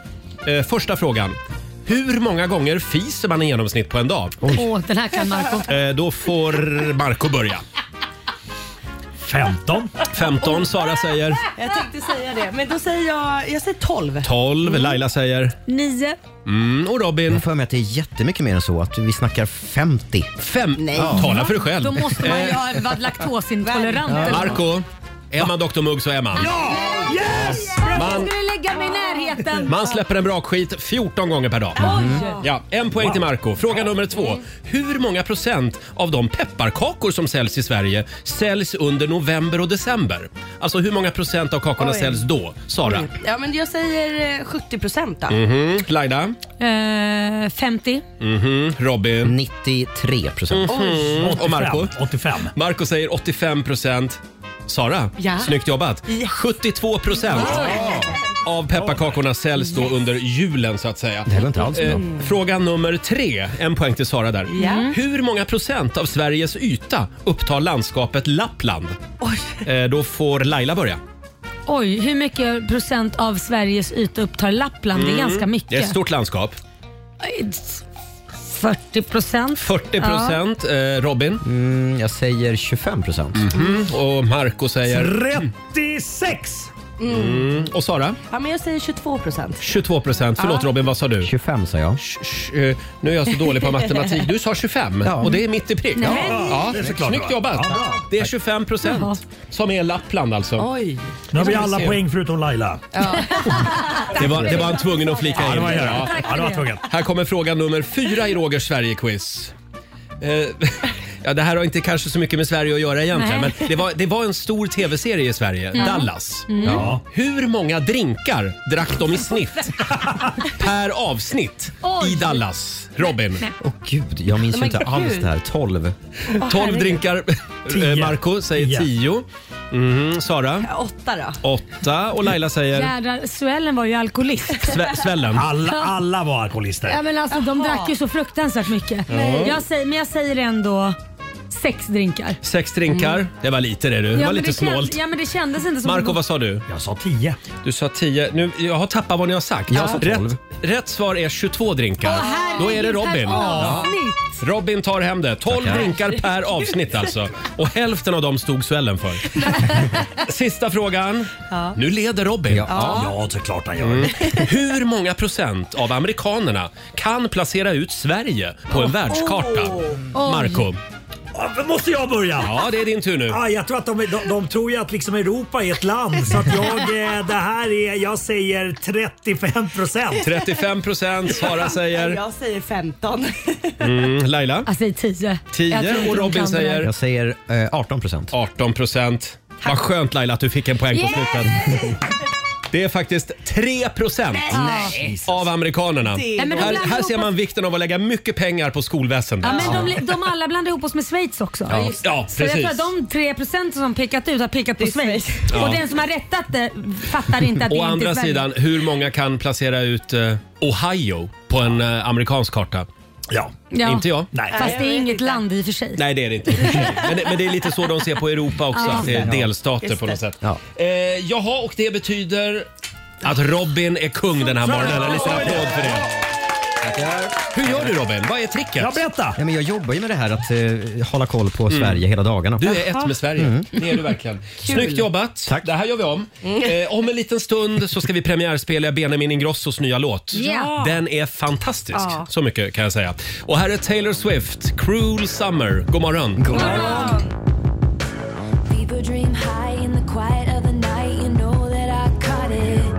Eh, Första frågan. Hur många gånger fiser man i genomsnitt på en dag?
Åh, den här
*laughs*
kan Marco.
Eh, Då får Marco börja. 15. 15. Sara säger
Jag tänkte säga det, men då säger jag, jag säger 12.
12.
Mm.
Laila säger?
9.
Mm, och Robin?
Jag får mig att det är jättemycket mer än så. Att vi snackar 50.
Fem?
Nej.
Tala för dig själv.
Då måste man ju
Eh,
ha varit laktosintolerant. eller något.
Marco, är man Dr Mugg så är man.
Ja! Yes! Jag
Man-
skulle lägga mig i närheten.
Man släpper en brakskit 14 gånger per dag. Mm.
Oj.
Ja, en poäng till Marco. Fråga nummer två. Hur många procent av de pepparkakor som säljs i Sverige säljs under november och december? Alltså hur många procent av kakorna
Oj.
säljs då? Sara?
Ja, men jag säger eh, 70 procent då.
Mhm. Laila?
Eh, 50.
Mhm. Robin? 93 procent.
Oj.
Och Marco?
85.
Marco säger 85 procent. Sara,
Ja.
snyggt jobbat. 72 procent. av pepparkakorna säljs då under julen så att säga. Det
är inte alls bra.
fråga nummer tre, en poäng till Sara där.
Ja.
Hur många procent av Sveriges yta upptar landskapet Lappland? Eh, då får Laila börja.
Oj, hur mycket procent av Sveriges yta upptar Lappland? Det är
Mm.
ganska mycket.
Det är ett stort landskap.
Eh, 40 procent.
40 procent. Eh, Robin? jag säger 25 procent. Och Marco säger?
36!
Mm. Och Sara?
Ja, men jag säger 22 procent.
22 procent. Förlåt
Ja.
Robin, vad sa du?
25 sa jag.
Eh, Nu är jag så dålig på matematik. Du sa 25
Ja.
och det är mitt i prick.
Nej.
Ja,
Det är såklart
snyggt
det var.
jobbat.
Ja, bra.
det är 25 procent som är Lappland alltså.
Oj.
Nu har vi alla poäng förutom Laila. *laughs*
Det var, det var en tvungen att flika in.
Ja, det var jag. Ja, det var tvungen.
Här kommer fråga nummer fyra i Rogers Sverige-quiz. Eh, *laughs* Ja, det här har inte kanske så mycket med Sverige att göra egentligen,
Nej.
men det var, det var en stor tv-serie i Sverige,
Ja.
Dallas.
Mm.
Ja. Hur många drinkar drack de
*laughs*
i snitt per avsnitt i
Oj.
Dallas? Robin?
Nej.
Åh gud, jag
minns ju Men inte gud. alls det här.
12.
Åh,
12
herregud.
drinkar. Eh, Marco säger
Tio.
10. Mhm, Sara?
8 då.
8 och Laila säger?
Jädrar, Suellen var ju alkoholist.
*laughs* Sve- svällen.
Alla- alla
var alkoholister.
Ja, men alltså, de drack ju så fruktansvärt mycket.
Nej.
Jag säger, men jag säger ändå sex drinkar.
Sex drinkar. Det var lite det du. Det var
Mm. men
lite
kän-
snålt.
Ja men det kändes inte som...
Marco, vad sa du? Jag sa 10. Du sa 10. Nu, jag har tappat vad ni har sagt. Alltså,
Jag sa tolv.
Rätt, rätt svar är 22 drinkar.
Åh, herregud,
Då är det Robin.
per avsnitt.
Robin tar hem det. 12
Tackar.
drinkar per avsnitt alltså. Och hälften av dem stod svällen för. Sista frågan.
Ja.
Nu leder Robin.
Ja. Ja.
det är klart han gör. Hur många procent av amerikanerna kan placera ut Sverige på en världskarta?
Oj.
Marco.
Måste jag börja?
Ja, det är din tur nu.
Ah, jag tror att de, de, de tror ju att liksom Europa är ett land så att jag, eh, det här är, jag säger 35 procent.
35 procent, Sara säger.
Jag säger 15.
Mm, Laila?
Jag säger 10. Alltså, Jag tror
10
inte
och
de
Robin
kan det där.
säger? säger 18 procent. 18 procent. Vad skönt Laila att du fick en poäng på
Yay!
slutet. Det är faktiskt 3 procent
Nej.
av amerikanerna.
Det är Nej, men de
här,
blandar
här
ihop
ser man vikten av att lägga mycket pengar på skolväsendet.
Ja, men de, de alla blandar ihop oss med Schweiz också.
Ja, just det. Ja,
så jag tror
precis.
att de 3 procenten som pekat ut har pekat på Schweiz.
Ja.
Och den som har rättat det fattar inte att det
Å
är inte är
andra
Sverige.
sidan, hur många kan placera ut eh, Ohio på en eh, amerikansk karta? Ja.
Ja.
Inte jag.
Fast det är inget land i och för sig.
Nej, det är det inte. Men det, men det är lite så de ser på Europa också,
Ja.
att det är
Ja.
delstater
Just
på något
det.
sätt. Eh, jaha, och det betyder att Robin är kung den här morgonen. En liten applåd för det. Hur gör du Robin? Vad är tricket?
Ja,
berätta!
men jag jobbar ju med det här att eh, hålla koll på Sverige hela dagarna. Mm.
Du är ett med Sverige. Det är du verkligen.
Kul.
Snyggt jobbat. Det här gör vi om. Eh, om en liten stund så ska vi premiärspela Benjamin Ingrossos nya låt.
Ja.
Den är fantastisk.
Ja.
Så mycket kan jag säga. Och här är Taylor Swift, Cruel Summer. God morgon. God
People dream high in the quiet of the night. You know that I caught it.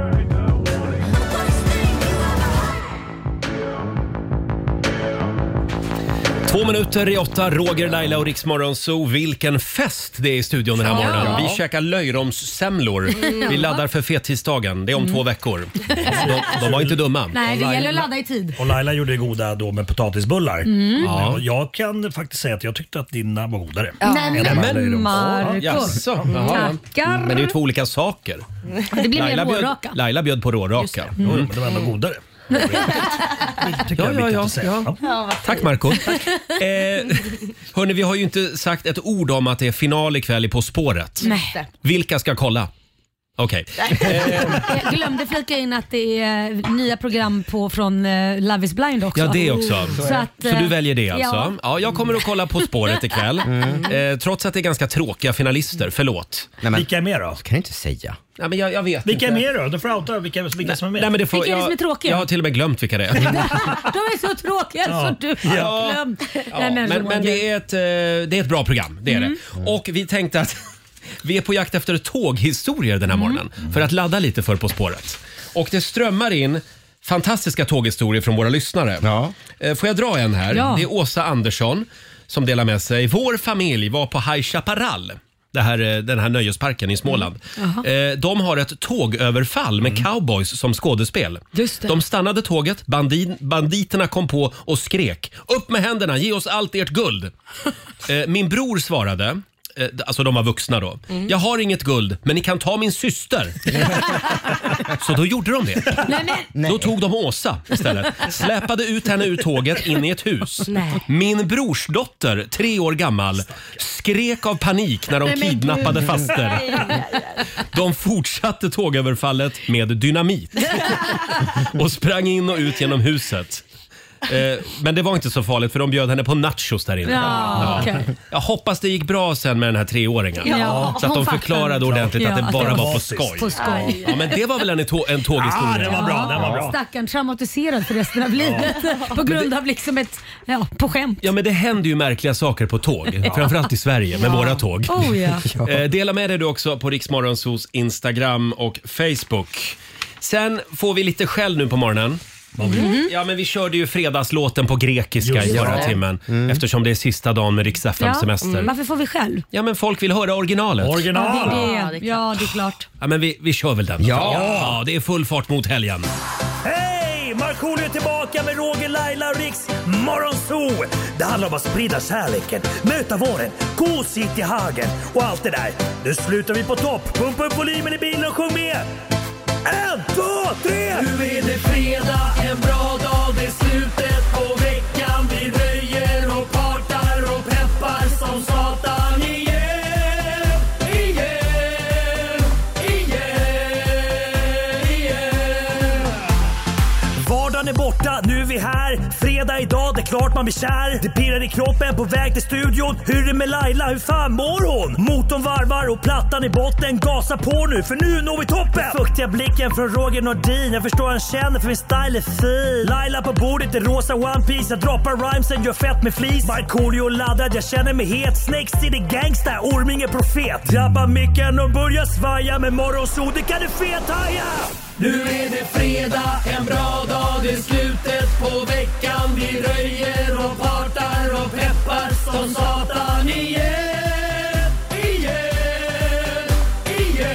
Två minuter i åtta, Roger, Laila och Riksmorgon Zoo. Vilken fest det är i studion den här
Ja.
morgonen.
Ja.
Vi käkar löjromssemlor.
Mm.
Vi laddar för fettisdagen. Det är om
Mm.
två veckor. De, de var inte dumma.
Nej, det gäller att ladda i tid.
Och Laila gjorde det goda då med potatisbullar.
Mm.
Ja.
Jag, jag kan faktiskt säga att jag tyckte att dina var godare.
Ja. Nej, men
Än Laila i dem.
Marco.
Jaså,
Mm.
jaha.
Tackar.
Men det är ju två olika saker.
Det blir mer
Laila bjöd,
råraka.
Laila bjöd på råraka.
Jo,
Mm.
jo, men det var ändå godare. tycker jag är viktigt att säga.
Ja, vad *laughs*
Tack Marco eh, Hörni, vi har ju inte sagt ett ord om att det är final ikväll i På spåret.
Nej.
Vilka ska kolla? Okej.
Jag glömde flika in att det är eh, nya program på, från eh, Love is blind också.
Ja, det också.
Så, att,
Så
eh,
du väljer det alltså?
Ja. Mm.
Ja. jag kommer att kolla På
*laughs*
spåret ikväll. Eh, trots att det är ganska tråkiga finalister, förlåt.
Vilka är med då?
kan jag inte säga.
Nej, men jag, jag vet
Vilka är
inte.
med då? Du får outa vilka, vilka som är med.
Nej, men det får,
Vilka är det som är tråkiga?
Jag, jag har till och med glömt vilka det
*laughs*
är.
De är så tråkiga
Ja.
så du har
Ja.
glömt.
Ja,
Nej,
men, men
Roger.
det, är ett, eh, det är ett bra program, det är
Mm.
det. Och vi tänkte att *laughs* vi är på jakt efter tåghistorier
Mm.
den här morgonen för att ladda lite för På spåret. Och det strömmar in fantastiska tåghistorier från våra lyssnare. Eh, Får jag dra en här?
Ja.
Det är Åsa Andersson som delar med sig. Vår familj var på High Chaparral. Det här, eh, den här nöjesparken i Småland. Eh, De har ett tågöverfall med cowboys som skådespel.
Mm. Just det.
De stannade tåget, bandin, banditerna kom på och skrek “Upp med händerna, ge oss allt ert guld!”
*laughs*
eh, Min bror svarade, eh, alltså de var vuxna då,
Mm.
“Jag har inget guld, men ni kan ta
*laughs*
min syster!” Så då gjorde de det. Då tog de Åsa istället. Släpade ut henne ur tåget in i ett hus.
Nej.
Min brors dotter, tre år gammal, skrek av panik när de
Nej, men
kidnappade
gud.
faster.
Nej, nej,
De fortsatte tågöverfallet med
*laughs*
dynamit och sprang in och ut genom huset. Eh, Men det var inte så farligt för de bjöd henne på nachos där inne.
Ja, okej.
Jag hoppas det gick bra sen med den här treåringen.
Ja,
så att
hon
de
fattar.
förklarade ordentligt
Ja,
att det
att
bara
det
var
var
på skoj.
på skoj.
Ja, men det var väl en, tå- en tåghistoria?
Ah, det var bra, det var bra.
Stackarn traumatiserad för resten av livet på grund av liksom ett, ja, på skämt.
Ja, men det händer ju märkliga saker på tåg.
*laughs* Ja.
Framförallt i Sverige med
Ja.
våra tåg.
Oh,
*laughs*
ja. Ja.
Eh, Dela med dig du också på Riksmorgonsos Instagram och Facebook. Sen får vi lite skäll nu på morgonen. Mm. Ja, men vi körde ju fredagslåten på grekiska
Just
i förra
det. Mm.
timmen eftersom det är sista dagen med riks
Ja. Mm.
semester
Varför får vi själv?
Ja, men folk vill höra originalet.
Ja, det, är det. ja, det är klart.
Ja, men vi, vi kör väl den.
Ja.
ja, det är full fart mot helgen.
Hej! Markoolio är tillbaka med Roger, Laila och Riks Morgonzoo! Det handlar om att sprida kärleken, möta våren, gosigt i hagen och allt det där. Nu slutar vi på topp! Pumpa upp volymen i bilen och sjung med! En, två, tre! Nu är det fredag, en bra dag, det är slutet på veckan. Vi röjer och partar och peppar som satan igen, igen, igen, igen. Vardagen är borta, nu är vi här. Fredag idag, det är klart man blir kär. Det pirrar i kroppen på väg till studion. Hur är det med Laila, hur fan mår hon? Motorn varvar och plattan i botten. Gasa på nu, för nu når vi toppen! Den fuktiga blicken från Roger Nordin. Jag förstår han känner för min style är fin. Laila på bordet i rosa One Piece Jag droppar rhymesen, gör fett med flis. Markoolio laddad, jag känner mig het. Snakes city gangsta, Orminge profet. Drabbar micken och börjar svaja. Med morgonsol, det kan du fethaja!
Nu är det fredag, en bra dag, det är slutet på veckan. Vi röjer och partar och peppar som satan igen. Igen, igen,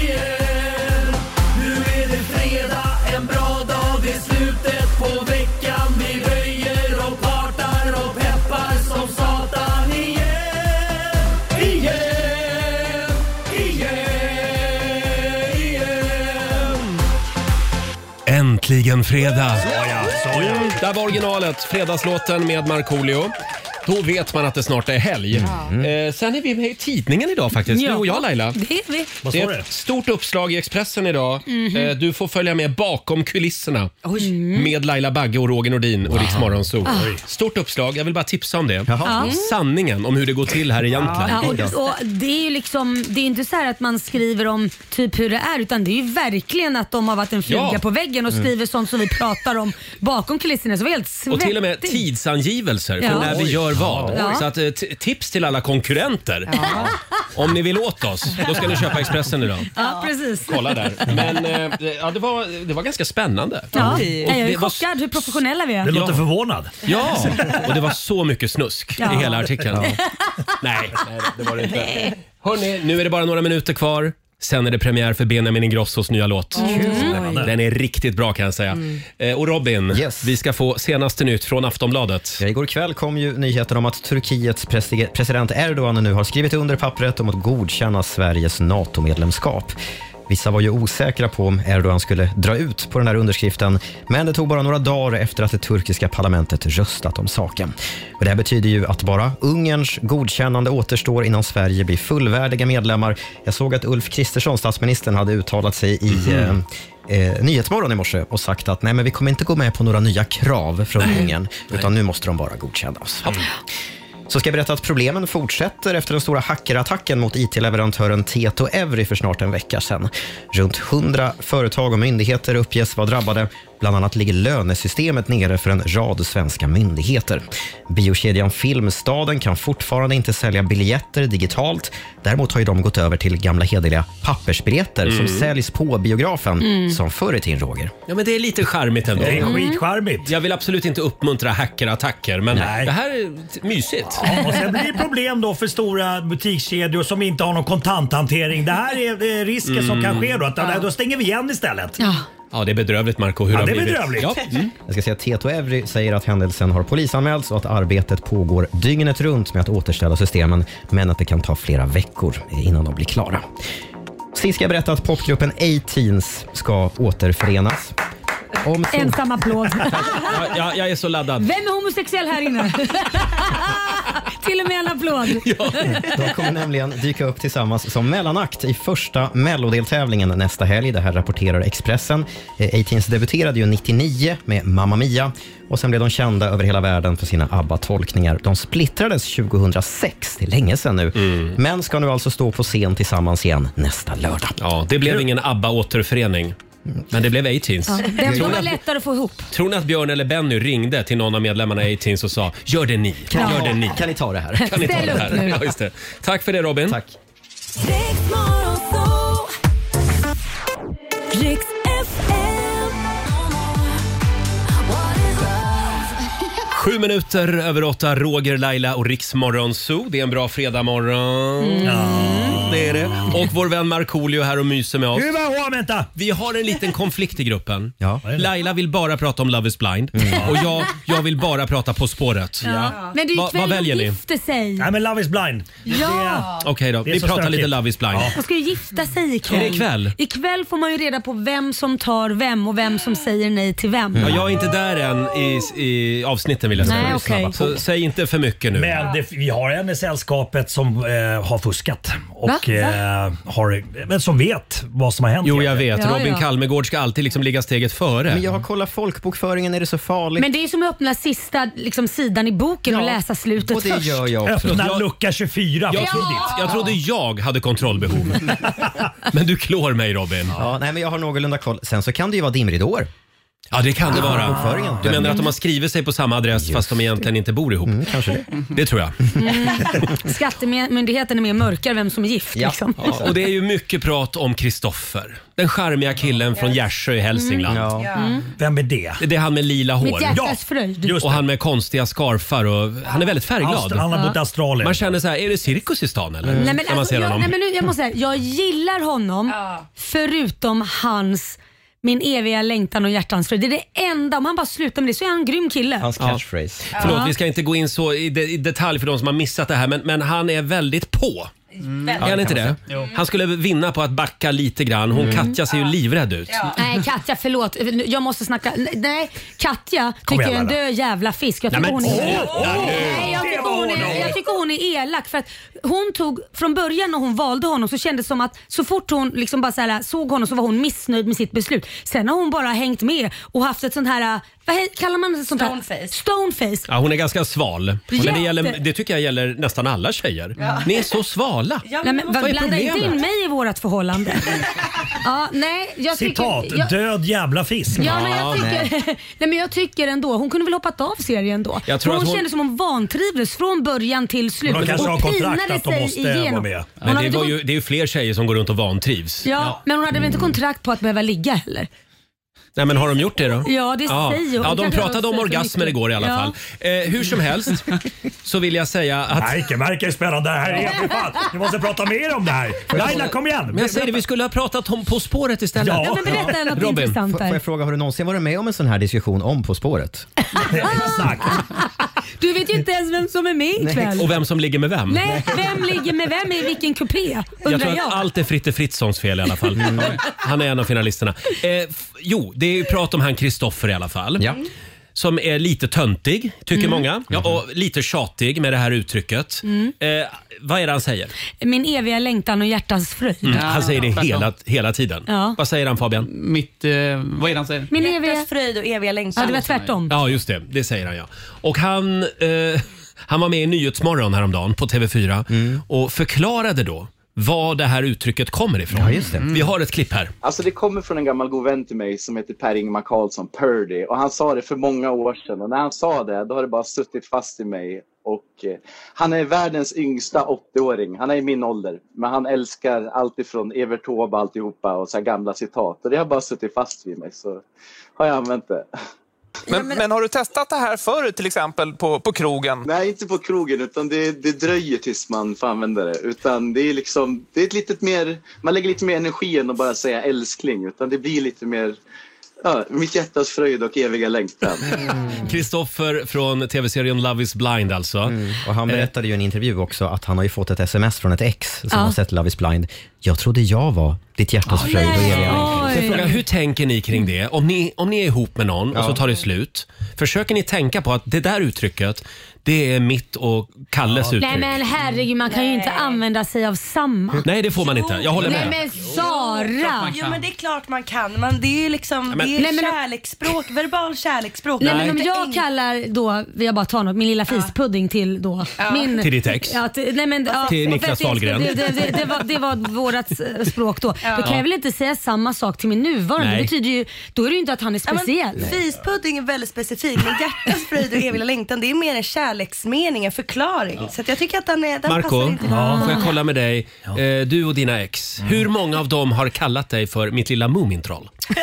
igen. Nu är det fredag, en bra dag, det är slutet på veckan. Vi röjer och partar och peppar som satan igen. Igen, igen, igen.
Mm, Äntligen fredag! Såja, såja. Där var originalet, fredagslåten med Markoolio. Då vet man att det snart är helg. Eh, sen är vi med i tidningen idag faktiskt, du och jag Laila.
Det är vi.
Det är ett stort uppslag i Expressen idag.
Mhm.
Eh, Du får följa med bakom kulisserna
Mm.
med Laila Bagge och Roger Nordin och Rix Morgonzoo.
Ah.
Stort uppslag, jag vill bara tipsa om det.
Ja.
Sanningen om hur det går till här i
Ja,
Jämtland.
och, och det är ju liksom, det är inte så här att man skriver om typ hur det är utan det är ju verkligen att de har varit en fluga
Ja.
på väggen och
Mm.
skriver sånt som vi pratar om bakom kulisserna. Så vi är helt svettig.
Och till och med tidsangivelser för
Ja.
när vi
Oj.
gör vad.
Ja.
Så att, eh, t- tips till alla konkurrenter. Om ni vill åt oss, då ska ni köpa Expressen idag.
Ja, precis.
Kolla där. Men eh, det- ja, det, var, det var ganska spännande.
Ja,
Och
Nej, jag
det
är
var
chockad hur professionella vi är.
Ja.
förvånad.
Ja, och det var så mycket snusk
Ja.
i hela artikeln.
Ja.
Nej, nej, det var det inte. Hörni, nu är det bara några minuter kvar. Sen är det premiär för Benjamin Ingrossos nya låt.
Mm.
Den är riktigt bra kan jag säga.
Mm.
Eh, Och Robin, vi ska få senaste nytt från Aftonbladet.
Ja, igår kväll kom ju nyheten om att Turkiets presi- president Erdogan nu har skrivit under pappret om att godkänna Sveriges NATO-medlemskap. Vissa var ju osäkra på om Erdogan skulle dra ut på den här underskriften, men det tog bara några dagar efter att det turkiska parlamentet röstat om saken. Och det här betyder ju att bara Ungerns godkännande återstår innan Sverige blir fullvärdiga medlemmar. Jag såg att Ulf Kristersson, statsministern, hade uttalat sig i
Mhm.
eh, eh, Nyhetsmorgon i morse och sagt att nej, men vi kommer inte gå med på några nya krav från Ungern, utan nu måste de bara godkänna oss. Så ska jag berätta att problemen fortsätter efter den stora hackerattacken mot IT-leverantören Tieto Every för snart en vecka sedan. Runt 100 företag och myndigheter uppges vara drabbade. Bland annat ligger lönesystemet nere för en rad svenska myndigheter. Biokedjan Filmstaden kan fortfarande inte sälja biljetter digitalt. Däremot har ju de gått över till gamla hederliga pappersbiljetter
Mm.
som säljs på biografen,
Mm.
som förr i tiden, Roger.
Ja, men det är lite charmigt ändå.
Det är Mm.
skitcharmigt. Jag vill absolut inte uppmuntra hackerattacker, men
Nej.
det här är t- mysigt.
Ja, och sen blir det problem då för stora butikskedjor som inte har någon kontanthantering. Det här är eh, risken som kan ske då. Att,
Mm.
Då stänger vi igen istället.
Ja, det är bedrövligt, Marco. Hur
Ja,
har
det är
blivit.
bedrövligt.
Ja. Mm.
Jag ska säga att Tieto Evry säger att händelsen har polisanmälts och att arbetet pågår dygnet runt med att återställa systemen, men att det kan ta flera veckor innan de blir klara. Sist ska jag berätta att popgruppen A-Teens ska återförenas. Om så-
Ensam applåd.
Ja, jag, jag är så laddad.
Vem är homosexuell här inne? *laughs* Till och med en applåd.
*laughs* De kommer nämligen dyka upp tillsammans som mellanakt i första mellodeltävlingen nästa helg. Det här rapporterar Expressen. Eh, A-Teens debuterade ju 99 med Mamma Mia och sen blev de kända över hela världen för sina ABBA-tolkningar. De splittrades 2006, det är länge sedan nu,
Mm.
men ska nu alltså stå på scen tillsammans igen nästa lördag.
Ja, det blev ingen ABBA-återförening. Men det blev A-Teens.
Ja, den
Tror
tror
ni
man
att-
lättare att få ihop.
Tror ni att Björn eller Benny ringde till någon av medlemmarna i A-Teens och sa “Gör det ni,
Ja.
gör det ni”?
Kan ni ta det här?
Kan ni ta
Ställ
det
upp
här?
nu.
Ja, just det. Tack för det Robin. Tack.
Riks FM.
Sju minuter över åtta, Roger, Laila och Riksmorgon Zoo. Det är en bra fredagmorgon.
Mm.
Ja, det är det. Och vår vän Markoolio är här och myser med oss.
Hurra, vänta!
Vi har en liten konflikt i gruppen.
Ja. Mm.
Laila vill bara prata om Love is blind och jag, jag vill bara prata På spåret.
Men det är ju
Va-
ikväll
vad väljer
de
ni?
gifter sig.
Nej men Love is blind.
Ja!
Okej då,
Det är
vi
så
pratar
stökigt.
lite Love is blind.
De ska ju gifta sig ikväll.
Är det ikväll?
Ikväll får man ju reda på vem som tar vem och vem som säger nej till vem.
Ja, jag är inte där än i, i avsnitten vill jag säga.
Nej, okej.
Så säg inte för mycket nu.
Men det, vi har en i sällskapet som eh, har fuskat. Och
Va?
eh, har, men som vet vad som har hänt.
Jo, jag vet.
Ja,
Robin
ja.
Kalmegård ska alltid liksom ligga steget före.
Men jag har kollat folkbokföringen, är det så farligt?
Men det är ju som att öppna sista liksom, sidan i boken och läsa slutet
och det
först.
gör jag också.
Öppna lucka 24
Jag
för
trodde,
tidigt.
jag trodde jag hade
Mm.
kontrollbehov. Men du klår mig Robin.
Ja, nej, men jag har någorlunda koll. Sen så kan det ju vara dimridåer.
Ja, det kan det
Folkbokföringen.
vara. Du menar att de har skrivit sig på samma adress fast de egentligen inte bor ihop?
Mm, kanske det.
Det tror jag.
Mm. Skattemyndigheten är mer mörkare vem som är gift. Liksom. *laughs*
Ja, och det är ju mycket prat om Kristoffer. Den charmiga killen från Gärsjö i Hälsingland.
Mm. Ja. Mm.
Vem är det?
Det är han med lila hår.
Mitt hjärtas fröjd.
och han med konstiga skarfar och han är väldigt färgglad.
Aust- han har bott i
Australien. Man känner så här, är det cirkus i stan eller?
Nej, men
När man
alltså,
ser
jag,
honom.
nej, men nu, jag måste säga, jag gillar honom förutom hans min eviga längtan och hjärtans fröjd. Det är det enda. Om han bara slutar med det så är han en grym kille.
Hans catchphrase.
Förlåt,
Ja.
vi ska inte gå in så i, de, i detalj för de som har missat det här, men, men han är väldigt på. Är han inte det? Han skulle vinna på att backa lite grann. Hon
Mm.
Katja ser ju livrädd ut.
Nej Katja, förlåt. Jag måste snacka. Nej, Katja
Kom
tycker jag
igen,
är en
Laila.
död jävla fisk. Jag
Nej,
tycker
men
hon är...
sluta nu.
Nej, jag
Det
tycker
var
hon är,
hårt.
jag tycker hon är elak. För att hon tog, från början när hon valde honom så kändes det som att så fort hon liksom bara så här, såg honom så var hon missnöjd med sitt beslut. Sen har hon bara hängt med och haft ett sånt här, vad he- kallar man det? Stoneface. Stoneface.
Ja, hon är ganska sval. Men
Jätte-
det, gäller, det tycker jag gäller nästan alla tjejer.
Ja.
Ni är så svala.
Nej, men,
Vad är
blanda inte in
problemet?
mig i vårt
*laughs*
förhållande. ja, nej, jag
Citat,
tycker, jag,
död jävla fisk.
Ja, men jag, tycker, *laughs* nej. men jag tycker ändå, hon kunde väl hoppat av serien då.
Jag tror
hon,
att hon-
kändes som hon vantrivdes från början till slut.
de kanske
och
har kontrakt
pinade
att de
sig
måste
igenom.
vara med.
Hon
Men
hade
det,
inte
var
kon-
ju, det är ju fler tjejer som går runt och vantrivs.
ja, men hon hade väl inte kontrakt på att behöva ligga heller?
Nej, men har de gjort det då?
Ja, det
ja.
säger hon.
Ja, de
Kanske
pratade
har
om
hon sagt
orgasmer
mycket.
igår i alla
Ja.
fall. Eh, hur som helst så vill jag säga att...
Nej, det verkar spännande. Det här är
*laughs*
jävligt fan. Vi måste prata mer om det här. Laila, kom igen.
Men jag säger det, vi skulle ha pratat om På spåret istället.
Ja. Ja, men berätta något
Robin,
intressant
får-
där.
Får jag fråga, har du någonsin varit med om en sån här diskussion om På spåret?
Du vet ju inte ens vem som är med *laughs* ikväll.
Och vem som ligger med vem.
Nej, vem ligger med vem i vilken kupé?
Jag Mm.
Undrar
tror
jag.
att allt är Fritte Fritzons fel i alla fall. Han är en av finalisterna. Eh, f- jo, det är ju prat om han Kristoffer i alla fall. Som är lite töntig, tycker
Mm.
många. Ja, och lite tjatig med det här uttrycket.
Mm.
Eh, vad är det han säger?
Min eviga längtan och hjärtas fröjd.
Mm. Han säger det hela, hela tiden.
Ja.
Vad säger han Fabian? Mitt, eh, vad är det han säger?
Min
Hjärtas fröjd och eviga längtan.
Ja, det var tvärtom.
Ja, just det. Det säger han ja. Och han, eh, han var med i Nyhetsmorgon häromdagen på TV4 och förklarade då var det här uttrycket kommer ifrån. Vi har ett klipp här.
Alltså det kommer från en gammal god vän till mig som heter Per-Ingmar Carlsson, Purdy. Och han sa det för många år sedan och när han sa det då har det bara suttit fast i mig. Och eh, han är världens yngsta 80-åring. Han är i min ålder. Men han älskar allt ifrån Evert Taube och alltihopa och så här gamla citat. Och det har bara suttit fast vid mig så har jag använt det.
Men, men har du testat det här förr, till exempel på, på krogen?
Nej, inte på krogen, utan det, det dröjer tills man får använda det. Utan det är liksom, det är ett litet mer, man lägger lite mer energi än att bara säga älskling, utan det blir lite mer, ja, mitt hjärtas fröjd och eviga längtan.
Mm.
Kristoffer från tv-serien Love is blind alltså.
Mm. Och han berättade ju i en intervju också att han har ju fått ett sms från ett ex som
Ja.
har sett Love is blind. Jag trodde jag var ditt hjärtas
Oj.
fröjd och eviga
Får
längtan.
jag fråga, hur tänker ni kring det? Om ni, om ni är ihop med någon och så tar det slut, försöker ni tänka på att det där uttrycket, det är mitt och Kalles uttryck?
Nej men herregud, man kan ju inte använda sig av samma.
Nej, det får man inte. Jag håller
Nej
med.
men Sara!
Jo men det är klart man kan. Man, det är ju liksom
Ja, men-
det är
Nej, men-
kärleksspråk, verbal kärleksspråk.
Nej, men om
Inte
jag kallar då, vill jag bara ta något, min lilla fispudding till då. Min,
Till ditt ex.
Ja, till, nej, men, ja,
Till
och
Niklas
för att det-
Wahlgren.
Det, det, det, det, var, det var vårat eh, språk då. Då kan
Ja.
jag väl inte säga samma sak till min nuvarande.
Nej.
Det betyder ju, då är det ju inte att han är
Ja, men
speciell.
Fispudding är väldigt specifik, men hjärtats fröjd och eviga längtan det är mer en kärleksmening, en förklaring. Så att jag tycker att den, är, den passar
Marco,
inte.
får jag kolla med dig? Eh, Du och dina ex,
Mm.
hur många av dem har kallat dig för mitt lilla Mumintroll?
*laughs*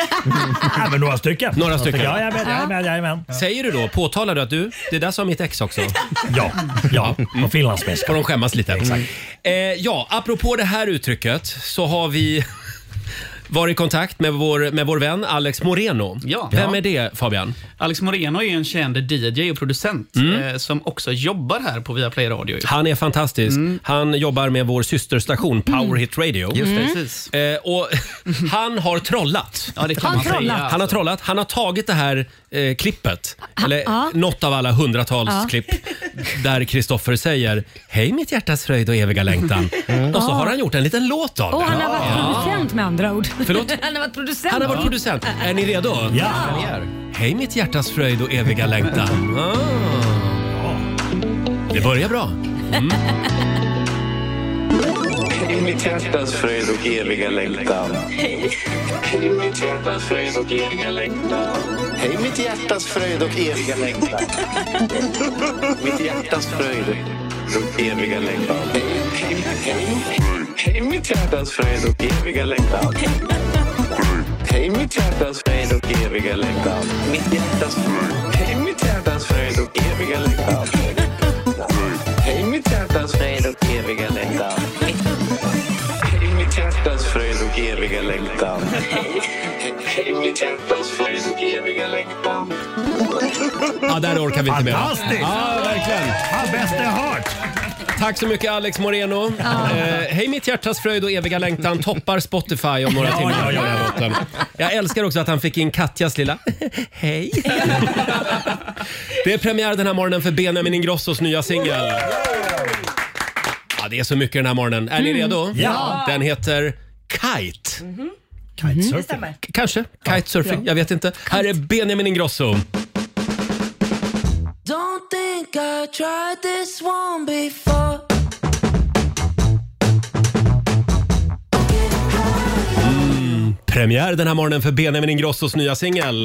Ja, men några stycken.
Några stycken.
Ja, jajamän, jajamän, jajamän.
Säger du då, påtalar du att du, det där sa mitt ex också?
*laughs* Ja, ja. På finlandssvenska.
Får de skämmas lite. Eh, ja, apropå det här uttrycket så har vi *laughs* varit i kontakt med vår, med vår vän Alex Moreno.
Ja.
Vem är det Fabian? Mm.
Alex Moreno är ju en känd DJ och producent eh, som också jobbar här på Viaplay Radio. ju.
Han är fantastisk. Han jobbar med vår systerstation Power Hit Radio.
Mm. Just det, Mm.
Eh, och *laughs* han har trollat.
Ja, det kan Han man säga, trollat. alltså.
Han har trollat. Han har tagit det här eh, klippet,
Ah,
eller
ja.
något av alla hundratals
Ja.
klipp, där Kristoffer säger “Hej mitt hjärtas fröjd och eviga längtan”
Mm.
och så
Ah.
Ja.
har han gjort en liten låt av
Och
det.
han har varit
Ja.
producent med andra ord.
Förlåt?
*laughs* Han har varit producent.
Han har varit producent. Är ni redo?
Ja.
Hej mitt hjärtas fröjd och eviga längtan. Ah. Det
*laughs*
börjar bra. Mm.
I mitt hjärtas fröjd och eviga längtan. I mitt hjärtas fröjd och eviga längtan. Hej mitt hjärtas fröjd och eviga längtan. Mitt hjärtas fröjd och eviga längtan. Hej mitt hjärtas fröjd och eviga längtan. Hej mitt hjärtas fröjd och eviga längtan. Mitt hjärtas fröjd. Hej mitt hjärtas fröjd och eviga längtan. Hej mitt hjärtas fröjd och eviga längtan. Hej mitt hjärtas fröjd och eviga längtan. Hej mitt hjärtas fröjd och eviga längtan.
Ja, där orkar vi inte med.
Fantastiskt!
Ja, verkligen.
Fan, bäst jag hört.
Tack så mycket Alex Moreno.
Ja.
Eh, Hej mitt hjärtas fröjd och eviga längtan toppar Spotify om några
Ja,
timmar.
ja, ja,
på den här
ja.
låten. Jag älskar också att han fick in
*laughs*
Katjas lilla Hej. *laughs* Det är premiär den här morgonen för Benjamin Ingrossos nya singel. Ja, det är så mycket den här morgonen. Är ni
Mm.
redo?
Ja.
Den heter Kite.
Mm-hmm. Det stämmer.
K- Kanske. Kitesurfing.
Ja.
Jag vet inte. Här är Benjamin Ingrosso.
Don't think I tried this one before.
Premiär den här morgonen för Benjamin Ingrossos nya singel.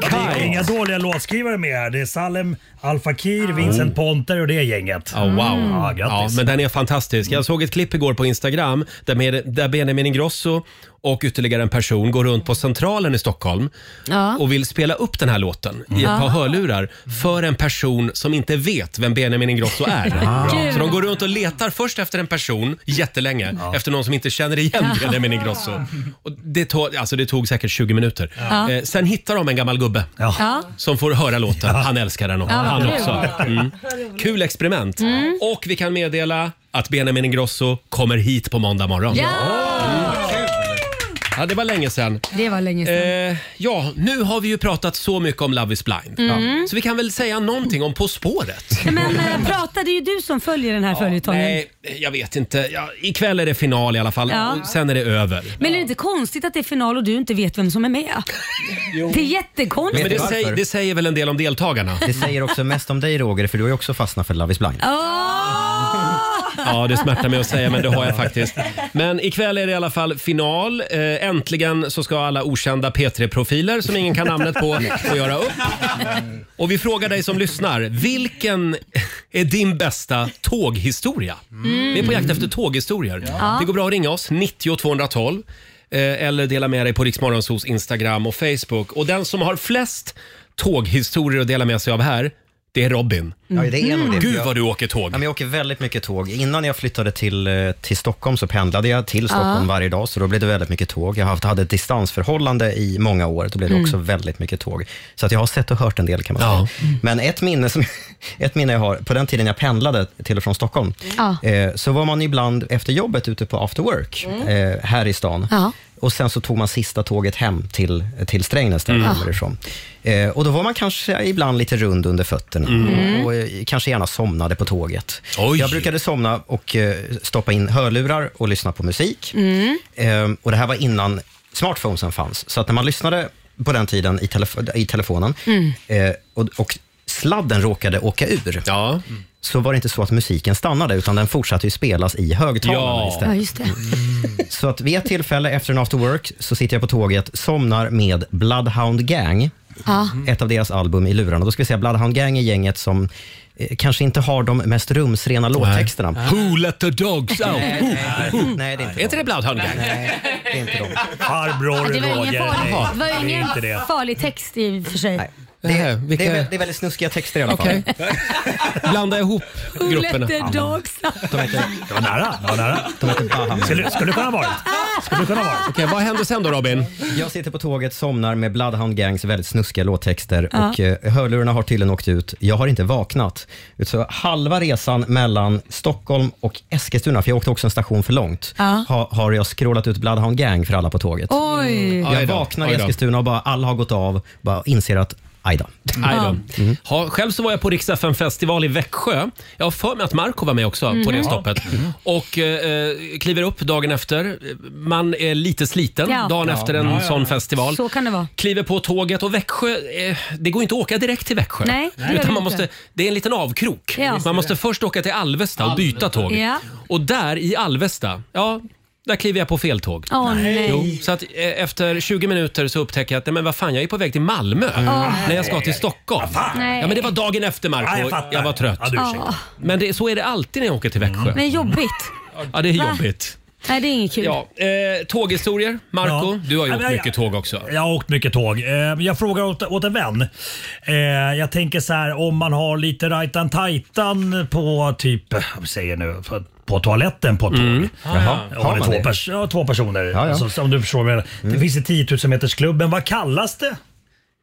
Det är inga dåliga låtskrivare med här. Det är Salem Al Fakir, Vincent Ponter och det gänget.
Ja, wow.
Ja,
ja,
grattis.
men den är fantastisk. Jag såg ett klipp igår på Instagram där, med, där Benjamin Ingrosso och ytterligare en person går runt på Centralen i Stockholm
Ja.
och vill spela upp den här låten i ett
Mm.
par
Ah.
hörlurar för en person som inte vet vem Benjamin Ingrosso är.
*laughs* Ah.
Bra.
Kul.
Så de går runt och letar först efter en person jättelänge, efter någon som inte känner igen
Ja.
Benjamin Ingrosso. Och det, tog, alltså det tog säkert 20 minuter.
Ja.
Eh, sen hittar de en gammal gubbe
Ja.
som får höra låten. Han älskar den också.
Ja, Mm. vad kul.
Han också. Mm. Kul experiment. Och vi kan meddela att Benjamin Ingrosso kommer hit på måndag morgon. Mm.
Ja!
Ja, det var länge sedan.
Det var länge sedan.
Eh, ja, nu har vi ju pratat så mycket om Love is blind.
Mm.
Så vi kan väl säga någonting om På spåret.
Nej, Men eh, pratade ju du som följer den här följetongen.
Nej, jag vet inte. Ja, ikväll är det final i alla fall.
Ja.
Och sen är det över.
Men är det inte konstigt att det är final och du inte vet vem som är med? Det är
Ja,
jättekonstigt.
men det, säger, det säger väl en del om deltagarna?
Det säger också mest om dig Roger, för du har ju också fastnat för Love is blind.
Ja, det smärtar mig att säga, men det har jag faktiskt. Men ikväll är det i alla fall final. Eh, Äntligen så ska alla okända P3-profiler som ingen kan namnet på få göra upp. Och vi frågar dig som lyssnar, vilken är din bästa tåghistoria?
Mm.
Vi är på jakt efter tåghistorier.
Ja.
Det går bra att ringa oss, 90 212. eh, Eller dela med dig på Riksmorgonsos Instagram och Facebook. Och den som har flest tåghistorier att dela med sig av här, det är Robin.
Ja, det är nog det.
Gud vad du åker tåg.
Ja, men jag åker väldigt mycket tåg. Innan jag flyttade till, eh, till Stockholm så pendlade jag till Stockholm
Ja.
varje dag, så då blev det väldigt mycket tåg. Jag har haft, hade ett distansförhållande i många år, då blev det
Mm.
också väldigt mycket tåg. Så att jag har sett och hört en del kan man säga. Men ett minne, som, *laughs* ett minne jag har, på den tiden jag pendlade till och från Stockholm,
Ja.
eh, så var man ibland efter jobbet ute på after work
Mm.
eh, här i stan.
Ja.
Och sen så tog man sista tåget hem till, till Strängnäs, där jag
Mm.
kommer ifrån. Eh, och då var man kanske ibland lite rund under fötterna
Mm.
och eh, kanske gärna somnade på tåget. Jag brukade somna och eh, stoppa in hörlurar och lyssna på musik.
Mm.
Ehm, och det här var innan smartphonesen fanns. Så att när man lyssnade på den tiden i, telefo- i telefonen
Mm.
eh, och, och sladden råkade åka ur,
Mm.
så var det inte så att musiken stannade, utan den fortsatte ju spelas i *laughs* högtalarna
Ja.
istället.
Ja, just det.
Så att vid ett tillfälle efter en after work så sitter jag på tåget, somnar med Bloodhound Gang,
Ja.
ett av deras album i lurarna. Då ska vi säga Bloodhound Gang är gänget som eh, kanske inte har de mest rumsrena låttexterna.
Who let the
*laughs*
dogs out?
Nej,
Who,
nej,
Mm.
who?
nej, det är inte
Är inte det Bloodhound Gang?
Nej, det är inte de.
Farbror
det var ingen, farlig,
nej.
det var
Det är
ingen
inte det.
farlig text i och för sig.
Det, är-
vilka-
det, är, vä- det är väldigt snuskiga texter i alla fall.
Okej. Blanda ihop grupperna.
Let the dogs out.
De heter,
det var nära. Det var nära.
De heter Bloodhound
Skulle, skulle kunna vara. Skulle kunna vara.
Okej, vad hände sen då Robin?
Jag sitter på tåget, somnar med Bloodhound Gangs väldigt snuskiga låttexter
Ja.
och eh, hörlurarna har tydligen åkt ut. Jag har inte vaknat. Så halva resan mellan Stockholm och Eskilstuna, för jag åkte också en station för långt,
Ja.
ha, har jag scrollat ut Bloodhound Gang för alla på tåget.
Oj.
Mm.
Jag
Aj då,
vaknar i
aj då.
Eskilstuna och bara, alla har gått av bara inser att aj då.
Aj då. Mm. Ha, själv så var jag på Rix FM festival i Växjö. Jag har för mig att Marco var med också på
Mm.
Mhm.
det stoppet. Och eh, kliver upp dagen efter. Man är lite sliten
Ja.
dagen
Ja.
efter en
Ja, ja, ja.
sån festival.
Så kan det vara.
Kliver på tåget och Växjö, eh, det går inte att åka direkt till Växjö.
Nej, det gör det
utan man
inte.
måste, det är en liten avkrok.
Ja.
Man måste först åka till Alvesta och byta tåg.
Ja.
Och där i Alvesta, ja, där kliver jag på fel tåg.
Åh, nej.
Jo, så att eh, efter 20 minuter så upptäcker jag att nej, men vad fan, jag är på väg till Malmö
Åh.
när jag ska till Stockholm.
Nej.
Ja, men det var dagen efter Marco.
Ja, jag
jag,
fattar.
var trött.
Ja, du är ursäktad.
Men det, så är det alltid när jag åker till Växjö.
Men jobbigt.
Ja, det är
Va?
jobbigt.
Nej, det är inget kul.
Ja, eh, tåghistorier. Marco,
Ja.
du har ju
Ja,
åkt
men jag-
mycket tåg också.
Jag har åkt mycket tåg. Eh, Jag frågar åt, åt en vän. Eh, Jag tänker så här om man har lite rajtan tajtan på typ, vad säger jag nu, på- på toaletten på ett tåg.
Mm. Jaha.
Om
Har
det är
man
två,
det?
pers- ja, två personer.
ja. Mm.
Alltså, om du förstår vad jag menar. Det finns i 10 000 metersklubben. Vad kallas det?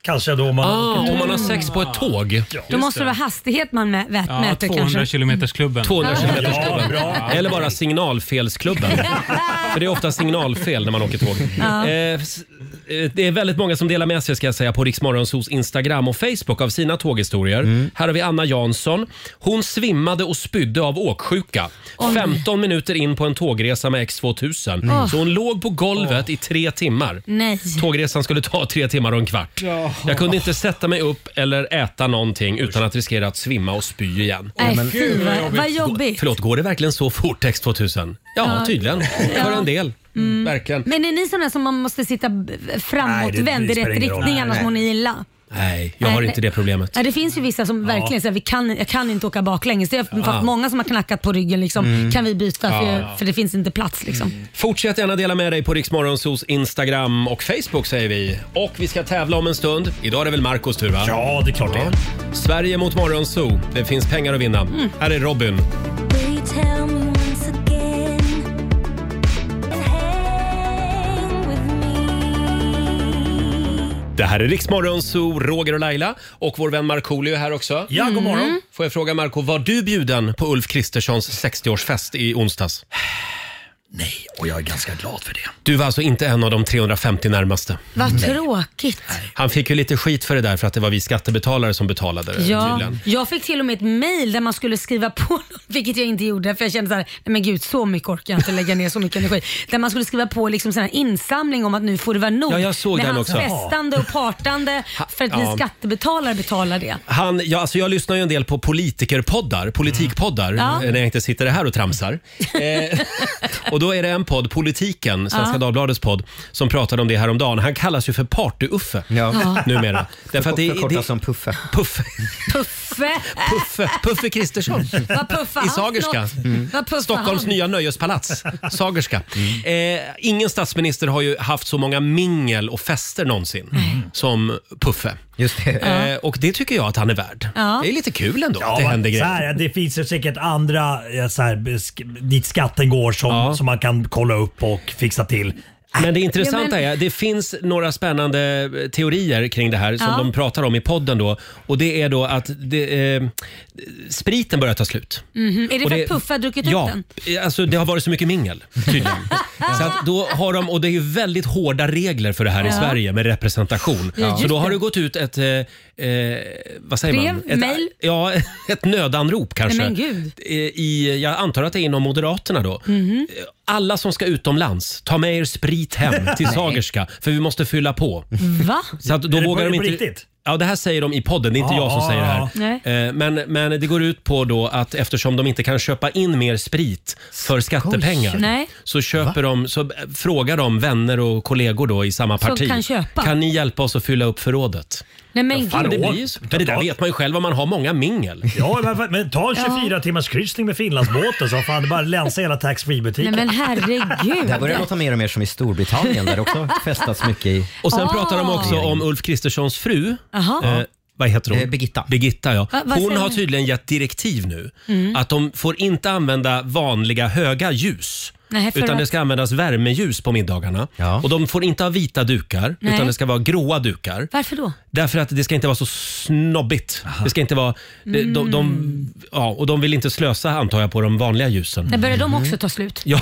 Kanske då man...
Ah, om man har sex på ett tåg.
Då måste det vara hastighet man mä- vä- mäter kanske.
kilometersklubben. 200
Ja,
kilometersklubben.
bra.
Eller bara signalfelsklubben.
*laughs*
För det är ofta signalfel när man åker tåg.
Ja.
Eh, s- eh, det är väldigt många som delar med sig ska jag säga på Riksmorgonsos Instagram och Facebook av sina tåghistorier. Här har vi Anna Jansson. Hon svimmade och spydde av åksjuka.
Oj.
15 minuter in på en tågresa med X2000.
Mm.
Så hon låg på golvet i tre timmar.
Nej.
Tågresan skulle ta tre timmar och en kvart.
Ja.
Jag kunde inte sätta mig upp eller äta någonting utan att riskera att svimma och spy igen.
Nej, fy vad, vad jobbigt.
Förlåt, går det verkligen så fort X2000? Ja,
Ja.
tydligen. För en del. Mm. Verkligen.
Mm. Men är ni sådana som man måste sitta b-
Nej, det-
framåtvänd
det
i
spelar
rätt
ingen roll.
riktning annars
Nej.
mår ni illa?
Nej, jag har
Nej,
inte
nej.
det problemet.
Nej, det finns ju vissa som verkligen säger vi kan, jag kan inte åka baklänges. Det har
Ja.
jag fått många som har knackat på ryggen liksom.
Mm.
Kan vi byta
Ja, Mm.
för,
ja.
för det finns inte plats liksom.
Fortsätt gärna dela med dig på Riksmorgonsos Instagram och Facebook säger vi. Och vi ska tävla om en stund. Idag är det väl Marcos tur va? Ja, det är klart det Sverige mot Morgonzoo. Det finns pengar att vinna.
Mm.
Här är Robin. Det här är Riksmorgonzoo, Roger och Laila och vår vän Markoolio är här också.
Ja, god morgon. Mm.
Får jag fråga Marco, var du bjuden på Ulf Kristerssons 60-årsfest i onsdags?
Och jag är ganska glad för det.
Du var alltså inte en av de 350 närmaste.
Vad tråkigt.
Han fick ju lite skit för det där för att det var vi skattebetalare som betalade det
Ja,
eh, tydligen.
jag fick till och med ett mail där man skulle skriva på, *laughs* något, vilket jag inte gjorde för jag kände så här, nej men gud så mycket orkar jag inte lägga ner så mycket
*laughs*
energi. Där man skulle skriva på liksom sån här insamling om att nu får det vara nog
Ja, jag såg
med
den
hans
också.
festande och
*laughs*
partande för att
ja.
vi skattebetalare betalar det.
Han, ja, alltså jag lyssnar ju en del på politikerpoddar, politikpoddar,
Mm. Ja.
eh, när jag inte sitter här
*laughs*
och tramsar. Eh, och då är det en podd, Politiken, Svenska
Ja.
Dagbladets podd, som pratade om det här om dagen. Han kallas ju för Party-Uffe
Ja.
numera. Därför att det,
Förkortas
det,
som Puffe.
Puffe.
Puffe!
Puffe, Puffe Kristersson.
Vad puffar
I
han
Sagerska.
Äh,
Mm.
något?
Mm.
Vad puffar
Stockholms
han?
nya nöjespalats. Sagerska.
Mm.
Eh, ingen statsminister har ju haft så många mingel och fester någonsin som Puffe.
Just
Eh, och det tycker jag att han är värd.
Ja.
Det är lite kul ändå
Ja,
att det händer
så
grejer.
här, det finns ju säkert andra eh, så här, besk- dit skatten går som, som man kan kolla upp och fixa till.
Men det intressanta är, det finns några spännande eh, teorier kring det här som
Ja.
de pratar om i podden då. Och det är då att det, eh, spriten börjar ta slut.
Mhm, Är det
Och
för
det-
att Puffe har druckit upp
Ja,
den?
eh, alltså det har varit så mycket mingel
*laughs*
tydligen. så att då har de, och det är ju väldigt hårda regler för det här i
Ja.
Sverige med representation.
Ja, just
Så då har
det.
det gått ut ett, eh, eh, vad säger man?
Brev,
Ett,
mail?
Ja, *laughs* ett nödanrop kanske.
Nej, men gud.
Eh, I, jag antar att det är inom Moderaterna då.
Mhm.
Alla som ska utomlands, ta med er sprit hem till
Nej.
Sagerska för vi måste fylla på.
Va?
*laughs* Så att då
Är det
vågar
på-
de
är det
inte...
på riktigt?
Ja, det här säger de i podden. Det är inte jag som
Ah,
säger det här.
nej.
Eh, Men, men det går ut på då att eftersom de inte kan köpa in mer sprit för skattepengar
Nej.
så, köper de, så eh, frågar de vänner och kollegor då i samma
Som
parti.
kan köpa.
Kan ni hjälpa oss att fylla upp förrådet?
Nej men
Fan, det
gud.
blir ju så. Men det där vet man ju själv om man har många mingel.
Ja, men- men ta en 24 timmars kryssning med Finlandsbåten så fan det bara länsa hela
Nej
taxfree-butiken.
men
*laughs*
herregud.
Det här börjar låta mer och mer som i Storbritannien där det också festas mycket i...
Och sen pratar de också om Ulf Kristerssons fru.
Jaha.
Eh, vad heter hon?
Eh, Birgitta.
Birgitta ja.
Va- vad
hon
säger
har
hon?
tydligen gett direktiv nu
Mm.
att de får inte använda vanliga höga ljus.
Nej, för
utan
att-
det ska användas värmeljus på middagarna. Och de får inte ha vita dukar,
Nej.
utan det ska vara gråa dukar.
Varför då?
Därför att det ska inte vara så snobbigt. Det ska inte vara... De, de,
Mm.
de, ja, och de vill inte slösa, antar jag, på de vanliga ljusen.
När börjar de också ta slut?
Ja.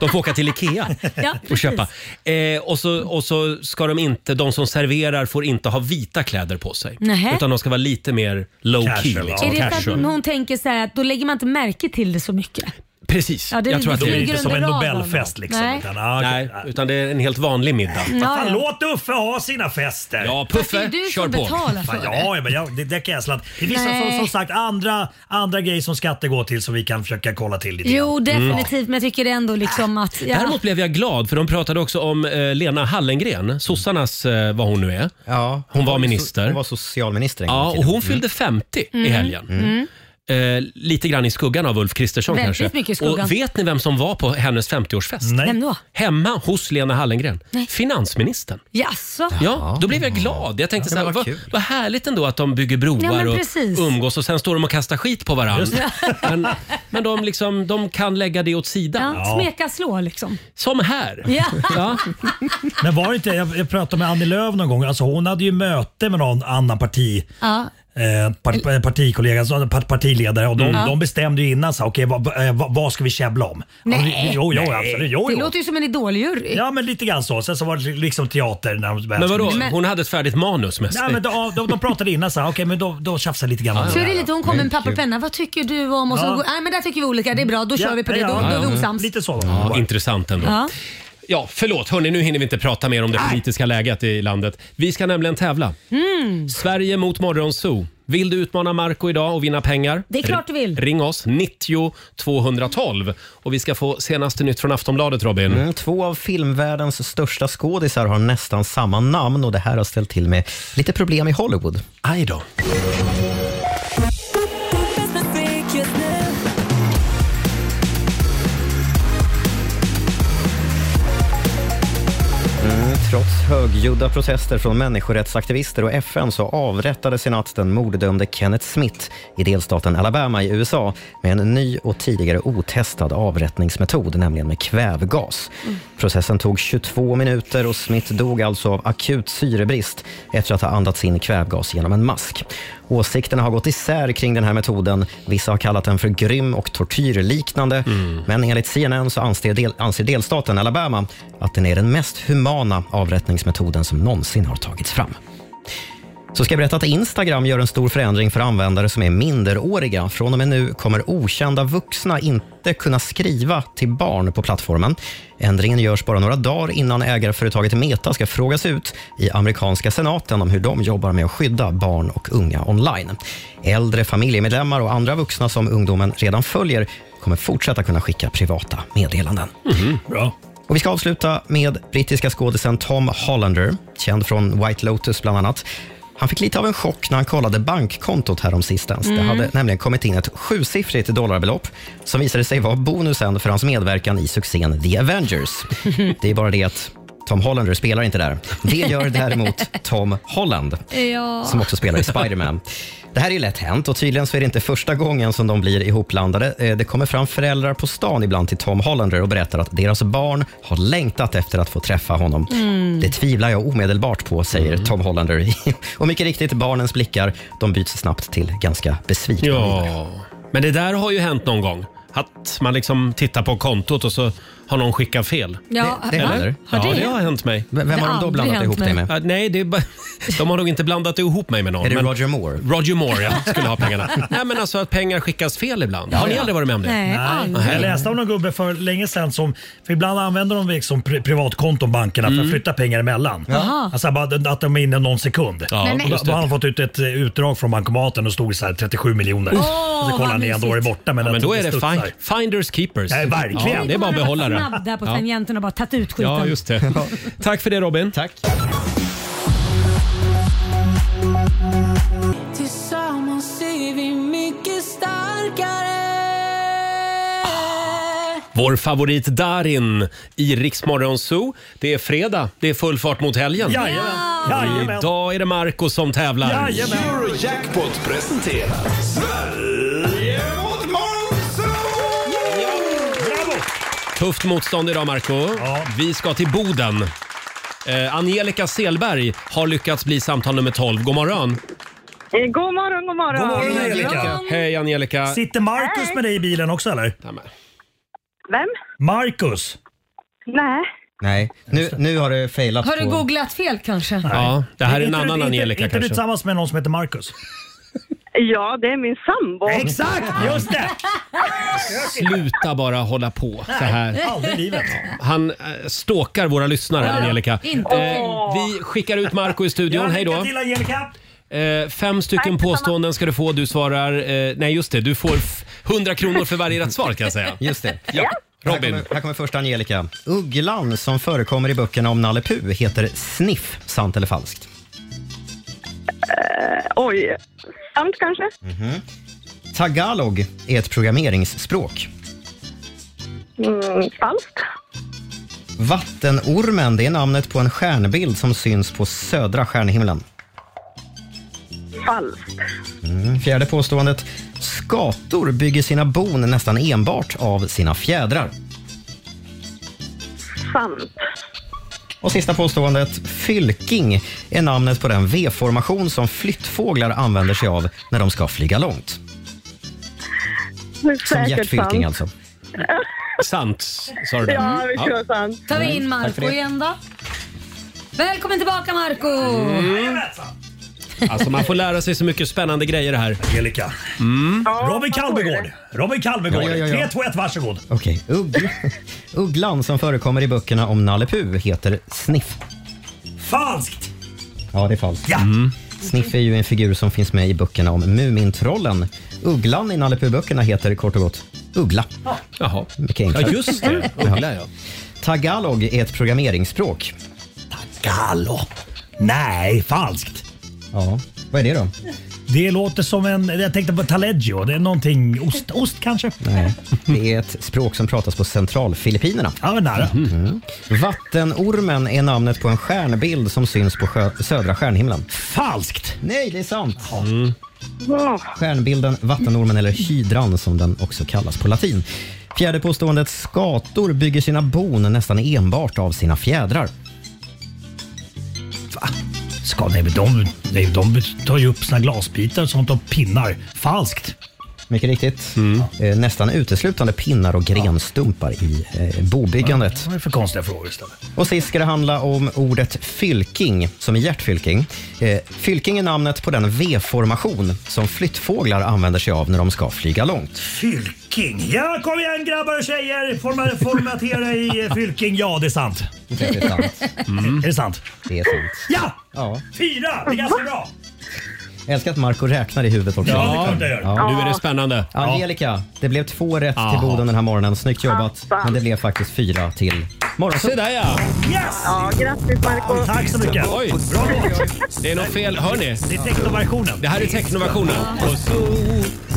De får åka
*laughs*
till Ikea
Ja,
*laughs* och
precis.
köpa. Eh, och, så, och så ska de inte, de som serverar får inte ha vita kläder på sig.
Nähä.
Utan de ska vara lite mer low key.
Casual,
Liksom.
Är det för
Casual.
att hon tänker så här att då lägger man inte märke till det så mycket?
Precis.
Ja, det-
jag tror att
det
det är
smyger
inte
Inte som
som
en
en
under radarn. Nobelfest,
Nobelfest
liksom.
liksom.
Nej.
Utan,
Utan,
Nej, utan det är en helt vanlig middag.
Vad fan,
Ja, ja.
Låt Uffe ha sina fester!
Ja, Puffe, Fast det är du kör som på. betalar för
Fan, ja, men jag, det, det kan jag slanta. Det finns
Nej.
som, som sagt andra, andra grejer som skatter går till som vi kan försöka kolla till lite
Jo,
grann. Mm.
definitivt. Men jag tycker ändå liksom att... Ja.
Däremot blev jag glad för de pratade också om eh, Lena Hallengren, sossarnas, eh, vad hon nu är.
Ja,
Hon var minister.
Hon var socialminister en gång
Ja,
i
och
tiden.
hon fyllde 50 i
Mm.
helgen.
Mm.
eh, lite grann i skuggan av Ulf Kristersson
Väldigt
kanske.
mycket i skuggan.
Och vet ni vem som var på hennes 50-årsfest?
Nej. Vem då?
Hemma hos Lena Hallengren.
Nej.
Finansministern.
Jaså?
Ja, då blev jag glad. Jag tänkte så här, vad, vad härligt ändå att de bygger
Ja,
broar
men
och
precis.
umgås och sen står de och kastar skit på
Just
varandra.
*laughs* det.
Men, men de, liksom, de kan lägga det åt sidan.
Ja, smeka slå liksom.
Som här.
Ja.
Mm. Men var det inte, jag, jag pratade med Annie Lööf någon gång, alltså hon hade ju möte med någon annan parti.
Ja.
Eh, part, eh, partikollega, alltså par- partiledare och de,
Mm.
de bestämde ju innan så här, okej vad, eh, vad, vad ska vi käbbla om?
Nej.
Jo, jo, absolut. Jo,
det
jo.
låter ju som en idoljury.
Ja men lite grann så. Sen så var det liksom teater. När de
Men vadå?
Men-
Hon hade ett färdigt manus med sig.
Nej, men de, de, de pratade innan så här, okej men då, då tjafsar jag lite grann. om
Så är det
här.
lite, hon kommer med papper och penna. Vad tycker du om? Och så,
Ja.
går- nej men där tycker vi olika. Det är bra, då
Ja,
kör vi på det.
ja,
Då,
ja,
då är vi
ja.
osams.
Lite så.
Ja, intressant ändå. Ja.
Ja.
förlåt. Hörni, nu hinner vi inte prata mer om det politiska läget i landet. Vi ska nämligen tävla.
Mm.
Sverige mot Morgonzoo. Vill du utmana Marco idag och vinna pengar?
Det är klart du vill.
Ring oss, 90 212. Och vi ska få senaste nytt från Aftonbladet, Robin.
Mm, två av filmvärldens största skådisar har nästan samma namn och det här har ställt till med lite problem i Hollywood.
Aj då.
Mm, trots högljudda protester från människorättsaktivister och FN så avrättades i natt den morddömde Kenneth Smith i delstaten Alabama i USA med en ny och tidigare otestad avrättningsmetod, nämligen med kvävgas. Processen tog 22 minuter och Smith dog alltså av akut syrebrist efter att ha andats in kvävgas genom en mask. Åsikterna har gått isär kring den här metoden. Vissa har kallat den för grym och tortyrliknande. Men enligt CNN så anser, del, anser delstaten Alabama att den är den mest humana avrättningsmetoden som någonsin har tagits fram. Så ska jag berätta att Instagram gör en stor förändring för användare som är minderåriga. Från och med nu kommer okända vuxna inte kunna skriva till barn på plattformen. Ändringen görs bara några dagar innan ägarföretaget Meta ska frågas ut i amerikanska senaten om hur de jobbar med att skydda barn och unga online. Äldre familjemedlemmar och andra vuxna som ungdomen redan följer kommer fortsätta kunna skicka privata meddelanden.
Mm,
Bra.
Och vi ska avsluta med brittiska skådisen Tom Hollander, känd från White Lotus bland annat. Han fick lite av en chock när han kollade bankkontot häromsistens.
Mm.
Det hade nämligen kommit in ett sjusiffrigt dollarbelopp som visade sig vara bonusen för hans medverkan i succén The Avengers. Det är bara det att Tom Hollander spelar inte där. Det gör däremot Tom Holland
Ja.
som också spelar i Spider-Man. Det här är ju lätt hänt och tydligen så är det inte första gången som de blir ihopblandade. Eh, Det kommer fram föräldrar på stan ibland till Tom Hollander och berättar att deras barn har längtat efter att få träffa honom.
Mm.
Det tvivlar jag omedelbart på, säger Tom Hollander. *laughs* och mycket riktigt, barnens blickar de byts snabbt till ganska besvikna.
Ja, men det där har ju hänt någon gång. Att man liksom tittar på kontot och så har någon skickat fel.
Ja, Det- det va? händer. Har
Ja,
det
det har
hänt?
hänt mig.
vem har Det de då har aldrig blandat hänt ihop dig mig. med?
Ja, nej, det
*laughs*
är bara, de har nog inte blandat ihop mig med någon.
Är det
men-
Roger Moore?
Roger Moore, ja. Skulle ha pengarna. nej, men alltså att pengar skickas fel ibland. har ni aldrig varit med om det?
Nej. Jag läste om någon gubbe för länge sedan som, för ibland använder de liksom pri privatkonton bankerna
Mm.
för att flytta pengar emellan.
Jaha.
Alltså bara att de är inne någon sekund.
Ja, Nej, men-
Då
just det.
då har han fått ut ett eh, utdrag från bankomaten och stod så här 37 miljoner.
Åh,
och så kollar
vad
han igen, då är det
mysigt.
borta. Men,
Ja, men
att
då är det
studsar.
fin- finders keepers.
Nej, verkligen.
Ja, det är bara att behålla det.
Snabb där på
Ja.
tangenten och bara tagit ut skiten.
Ja, just det. Tack för det Robin. Tack.
Tillsammans är vi mycket starkare
Vår favorit Darin i Riksmorgon Zoo. Det är fredag, det är full fart mot helgen.
Jajamän. Jajamän.
Idag är det Marco som tävlar.
Eurojackpot presenterar Sverige mot Monzo!
Tufft motstånd idag Marco. Vi ska till Boden. Eh, Angelica Selberg har lyckats bli samtal nummer 12. God morgon.
Eh, God morgon, god morgon.
God morgon, Angelica.
Hej Angelica.
Sitter Marcus med dig i bilen också eller?
Vem?
Marcus.
Nej.
Nej, nu, nu har du failat.
Har du
på-
googlat fel kanske?
Ja, det här är en
Inte du-
annan
inte-
Angelica
Inte du
kanske.
tillsammans med någon som heter Marcus?
Ja, det är min sambo.
Exakt, just det!
Sluta bara hålla på så
Nej,
här.
aldrig i livet.
Ja, Han eh, stalkar våra lyssnare,
Ja,
Angelica. Eh,
inte.
vi skickar ut Marco i studion. Hej då.
Angelica.
Eh, fem stycken påståenden ska du få. Du svarar... Eh, nej, just det. Du får f- 100 kronor för varje rätt svar kan jag säga.
Just det.
Ja.
Här
Robin.
kommer, här kommer första Angelica. Ugglan som förekommer i böckerna om Nalle Puh heter Sniff, sant eller falskt?
Eh, oj. Sant kanske?
Mhm. Tagalog är ett programmeringsspråk.
Mm, falskt.
Vattenormen det är namnet på en stjärnbild som syns på södra stjärnhimlen.
Falskt.
Mm, fjärde påståendet. Skator bygger sina bon nästan enbart av sina fjädrar.
Sant.
Och sista påståendet. Fylking är namnet på den V-formation som flyttfåglar använder sig av när de ska flyga långt. Som hjärtfylking alltså.
Sant, sa du det?
Ja, vi kör sant.
tar Mm. vi in
Mm, tack
Marco
för det.
igen då. Välkommen tillbaka Marco
Mm. Alltså man får lära sig så mycket spännande grejer här.
Angelica.
Mm.
Robin Kalmegård. Robin Kalmegård.
Ja, ja, ja, ja.
3, 2, 1, varsågod.
Okej, uggl- *laughs* ugglan som förekommer i böckerna om Nalle Puh heter Sniff.
Falskt!
Ja, det är falskt. Sniff är ju en figur som finns med i böckerna om Mumintrollen. Ugglan i Nalle Puh-böckerna heter kort och gott Uggla.
Jaha.
Mycket enklare.
Ja,
*laughs*
just det. Uggla, ja.
Tagalog är ett programmeringsspråk.
Tagalog? Nej, falskt.
Ja, vad är det då?
Det låter som en... Jag tänkte på taleggio. Det är någonting... Ost, ost kanske?
Nej, det är ett språk som pratas på centralfilippinerna.
Ja, men nära.
Mm. Vattenormen är namnet på en stjärnbild som syns på sjö, södra stjärnhimlen.
Falskt! Mm.
Nej, det är sant. Stjärnbilden vattenormen eller hydran som den också kallas på latin. Fjärde påståendet skator bygger sina bon nästan enbart av sina fjädrar.
Ska, nej, men de, nej, de tar ju upp sina glasbitar och sånt och pinnar. Falskt.
Mycket riktigt.
Mm.
Eh, nästan uteslutande pinnar och grenstumpar i eh, bobyggandet.
Det är för konstiga frågor istället.
Och sist ska det handla om ordet fylking, som är hjärtfylking. Eh, fylking är namnet på den V-formation som flyttfåglar använder sig av när de ska flyga långt.
Fylking. Ja, kom igen grabbar och tjejer. Forma, formatera i eh, Fylking. Ja, det är sant.
Det är sant.
Är det sant?
Det är sant.
Ja!
Ja.
Fyra! Det är ganska bra.
Jag älskar att Marco räknar i huvudet också.
Ja, det är klart jag gör.
Nu är det spännande.
Angelica, det blev två rätt
Jaha.
till Boden den här morgonen. Snyggt
Alltså.
jobbat.
Attan.
Men det blev faktiskt fyra till Morgonzoo.
Se där ja!
Yes!
Ja, grattis Marco
Tack så mycket.
Oj.
Bra jobbat.
Det är något fel. Hör ni?
Det är technoversionen.
Det här är technoversionen. Och så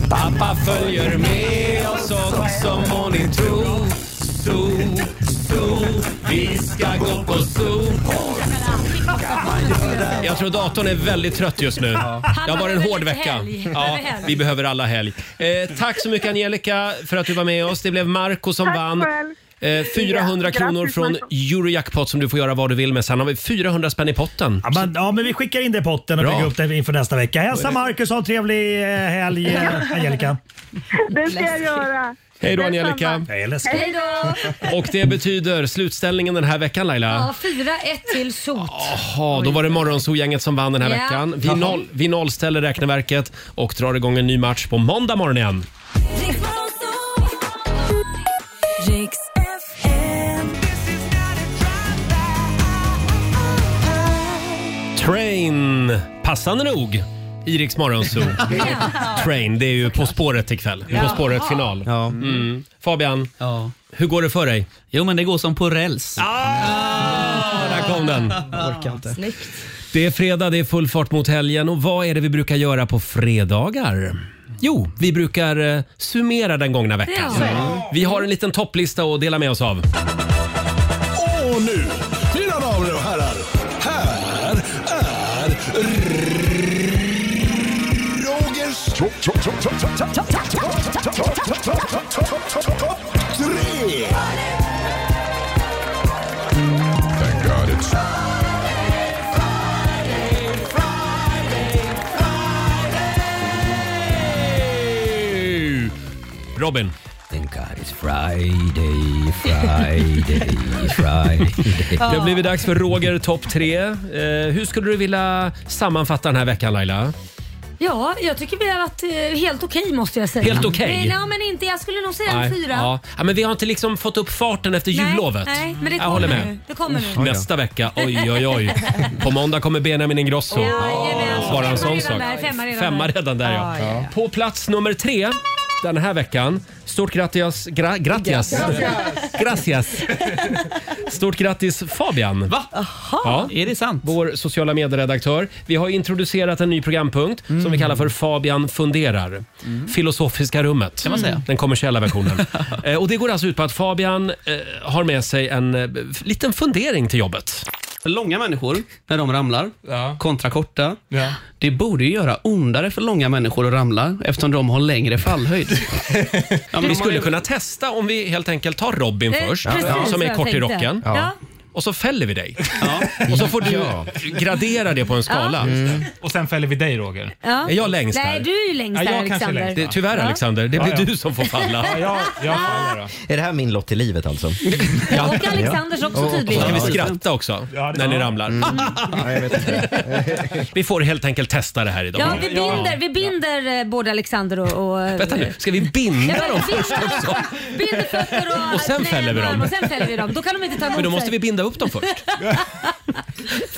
pappa följer med oss också må ni tro. Zoo, zoo, vi ska gå på zoo. Jag tror datorn är väldigt trött just nu. Det har varit en
behöver
hård
lite
vecka.
helg.
Ja,
Behöver helg.
vi behöver alla helg. Eh, tack så mycket Angelica för att du var med oss. Det blev Marco som
Tack
vann.
själv.
Eh, 400
Ja,
kronor
grattis,
från
Marco.
Eurojackpot som du får göra vad du vill med. Sen har vi 400 spänn i potten.
Ja men, ja, men vi skickar in det i potten och
Bra.
bygger upp det inför nästa vecka. Hälsa
Då är
Marcus och ha en trevlig eh, helg, eh, Angelica.
Det ska jag göra.
Hej då,
Detsamma.
Angelica.
Jag är läskig.
Hej då!
Och det betyder slutställningen den här veckan
Ja,
Laila.
4-1 till sot.
Jaha, då var det Morgonzoo-gänget som vann den här
Ja.
veckan. Vi,
Jaha.
noll, vi nollställer räkneverket och drar igång en ny match på måndag morgon igen.
Riks FM.
Train, passande nog, i Rix Morgonzoo.
*laughs*
Train, det är ju På spåret ikväll.
Ja.
På spåret-final. Mm. Fabian, hur går det för dig?
Jo, men det går som på räls.
Ah! Där kom den.
Orkar inte.
Det är fredag, det är full fart mot helgen och vad är det vi brukar göra på fredagar? Jo, vi brukar eh, summera den gångna veckan.
Ja.
Mm. Vi har en liten topplista att dela med oss av.
Och nu, mina damer och herrar, här är Rogers topp tre. Thank God it's...
Robin.
Thank God it's
Friday, Friday, Friday.
Det har blivit dags för Roger topp tre. Eh, hur skulle du vilja sammanfatta den här veckan Laila?
Ja, jag tycker vi har varit eh, helt okej måste jag säga.
Helt okej?
Eh, Nej, men inte. Jag skulle nog säga en
Nej,
fyra.
Ja. ja, men vi har inte liksom fått upp farten efter
Nej,
jullovet.
nej, men det
Jag håller
kommer
med.
nu. Det kommer nu.
Uff,
Oj då.
Nästa vecka, oj
*laughs*
oj oj. På måndag kommer Benjamin Ingrosso.
Jajamän.
Svara
Femma
en sån
redan
sak.
där, femma redan
Femma
där.
redan där ja.
Ja, ja, ja.
På plats nummer tre den här veckan. Stort grattis... Gra, grattis. Gracias. Stort grattis Fabian. Va? Ja. Är det sant? Vår sociala medieredaktör. Vi har introducerat en ny programpunkt som vi kallar för Fabian funderar. Filosofiska
Mm.
rummet.
Kan man säga.
Den
*laughs*
kommersiella versionen. Eh, Och det går alltså ut på att Fabian eh, har med sig en eh, f- liten fundering till jobbet.
Långa människor, när de ramlar, kontra korta. Det borde ju göra ondare för långa människor att ramla eftersom de har längre fallhöjd.
men vi skulle kunna testa om vi helt enkelt tar Robin
Eh,
först,
precis vad
som är
jag
kort i
tänkte.
rocken.
Ja.
Och så fäller vi dig. Och så får du
Ja.
gradera det på en skala.
Ja. Mm.
Och sen fäller vi dig Roger.
Ja.
Är jag längst
Nej,
här?
du är ju längst här, Alexander.
Det, *laughs* tyvärr
Ja.
Alexander, det blir
Ja, ja.
du som får falla.
*laughs* Ja, jag- jag
faller
Är det här min lott i livet alltså?
Ja, och Alexanders också
Och så
tydligen.
ska vi skratta också när ni ramlar.
Mm.
Mm. vi får helt enkelt testa det här idag.
Ja, vi binder, vi binder eh, både Alexander och... och eh,
Vänta nu, ska vi binda dem
binder-
först också? *laughs*
Binder fötter och,
Och sen fäller vi
armar
dem.
Och sen fäller vi dem. Då kan de inte ta emot
*laughs* Men då måste
sig.
vi binda upp dem först.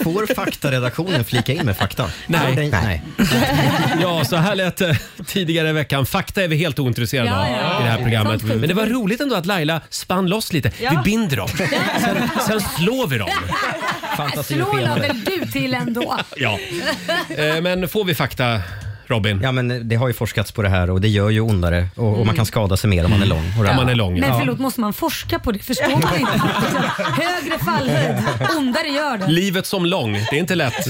Får faktaredaktionen flika in med fakta?
Nej.
Den- Nej.
Ja, så här lät det tidigare i veckan. Fakta är vi helt ointresserade
Ja,
av
ja.
i det här programmet.
Sånt skit.
Men det var roligt ändå att Laila spann loss lite.
Ja.
Vi binder dem, sen, sen
*laughs*
slår vi dem.
Slå la väl Äh, du till ändå.
*laughs* Ja. Eh, Men får vi fakta, Robin?
Ja, men det har ju forskats på det här och det gör ju ondare och, och man kan skada sig mer om man är lång. Och
Om man är lång,
Men förlåt, måste man forska på det? Förstår man inte? Högre fallhöjd, ondare gör det.
Livet som lång, det är inte lätt.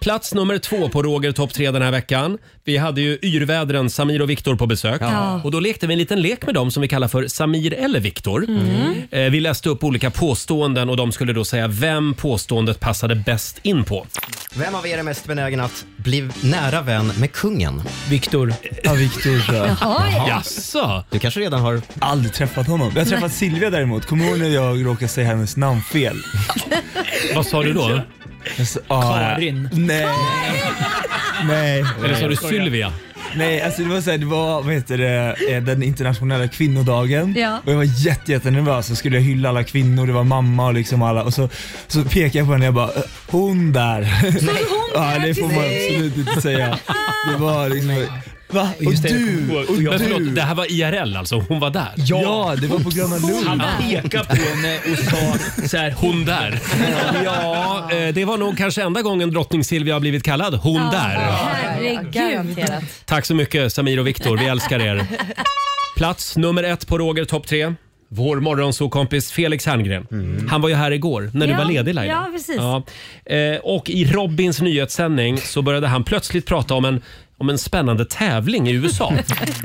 Plats nummer två på Roger topp tre den här veckan. Vi hade ju yrvädren Samir och Viktor på besök.
Ja.
Och då lekte vi en liten lek med dem som vi kallar för Samir eller Viktor.
Mm.
Eh, Vi läste upp olika påståenden och de skulle då säga vem påståendet passade bäst in på.
Vem av er är mest benägen att bli nära vän med kungen?
Viktor. Ja, Viktor.
Jaha, ja.
Jaså?
Du kanske redan har...
Aldrig träffat honom. Jag har träffat Silvia däremot. Kommer du ihåg när jag råkade säga hennes namn fel?
Vad sa du då?
Jag sa, ah,
Karin.
Nej. Nej.
Eller sa du Sylvia?
Nej, alltså det var såhär, det var vad heter det, eh, den internationella kvinnodagen
Ja.
och jag var jätte, jättenervös så skulle jag hylla alla kvinnor, det var mamma och liksom alla och så, så pekade jag på henne och jag bara "Eh, “Hon där”.
det hon
*laughs* ja,
där
det får
till
man
dig?
absolut inte säga. Det var liksom, va? Och du? Och
Men förlåt,
du?
det här var IRL alltså? Hon var där?
Ja, det var på Gröna Lund.
Han pekade på henne och sa så här, hon där. Ja, eh, det var nog kanske enda gången drottning Silvia har blivit kallad hon där.
Herregud.
Tack så mycket Samir och Viktor, vi älskar er. Plats nummer ett på Roger topp tre. Vår morgonsåkompis Felix Herngren. Han var ju här igår när du
Ja,
var ledig Laila.
ja, precis.
Eh, och i Robins nyhetssändning så började han plötsligt prata om en, om en spännande tävling
*laughs*
i USA.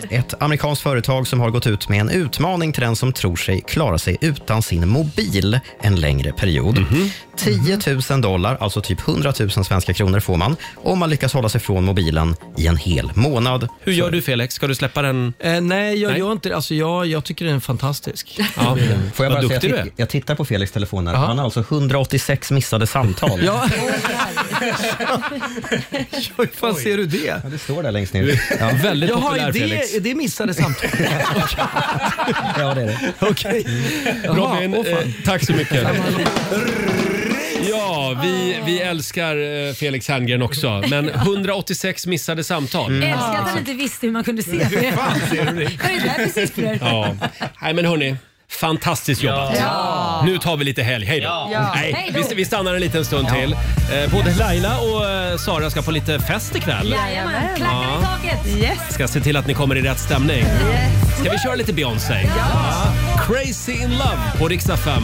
Ett amerikanskt företag som har gått ut med en utmaning till den som tror sig klara sig utan sin mobil en längre period.
Mhm.
10 000 dollar, alltså typ 100 000 svenska kronor får man om man lyckas hålla sig från mobilen i en hel månad.
Hur gör du Felix? Ska du släppa den?
Eh,
nej,
Nej.
jag gör inte det. Alltså, jag, jag tycker den är fantastisk.
Ja.
Mm. Får jag
Vad
bara säga,
duktig
jag,
du
titt- jag tittar på Felix telefon här.
Aha.
Han har alltså 186 missade samtal. *laughs*
Ja. Hur fan ser du det?
Ja, det står där längst ner. Ja.
Väldigt
Jaha,
populär,
är det,
Felix.
Är det missade samtal?
ja, det är det.
Okej.
Robin, eh, tack så mycket. Ja, vi, vi älskar eh, Felix Herngren också, men 186 missade samtal.
Jag älskar att han inte visste hur man kunde se det.
fan ser
Vad är det där för siffror?
Ja. Nej, men hörni. Fantastiskt jobbat!
Ja.
Nu tar vi lite helg. Hej då!
Ja.
Nej,
Hej då.
vi, vi stannar en liten stund till. Eh, både Laila och eh, Sara ska på lite fest ikväll.
Jajamän, klackarna i
Ja.
taket. Yes.
Ska se till att ni kommer i rätt stämning. Ska vi köra lite Beyoncé? Ja. Crazy in love på riksdag 5.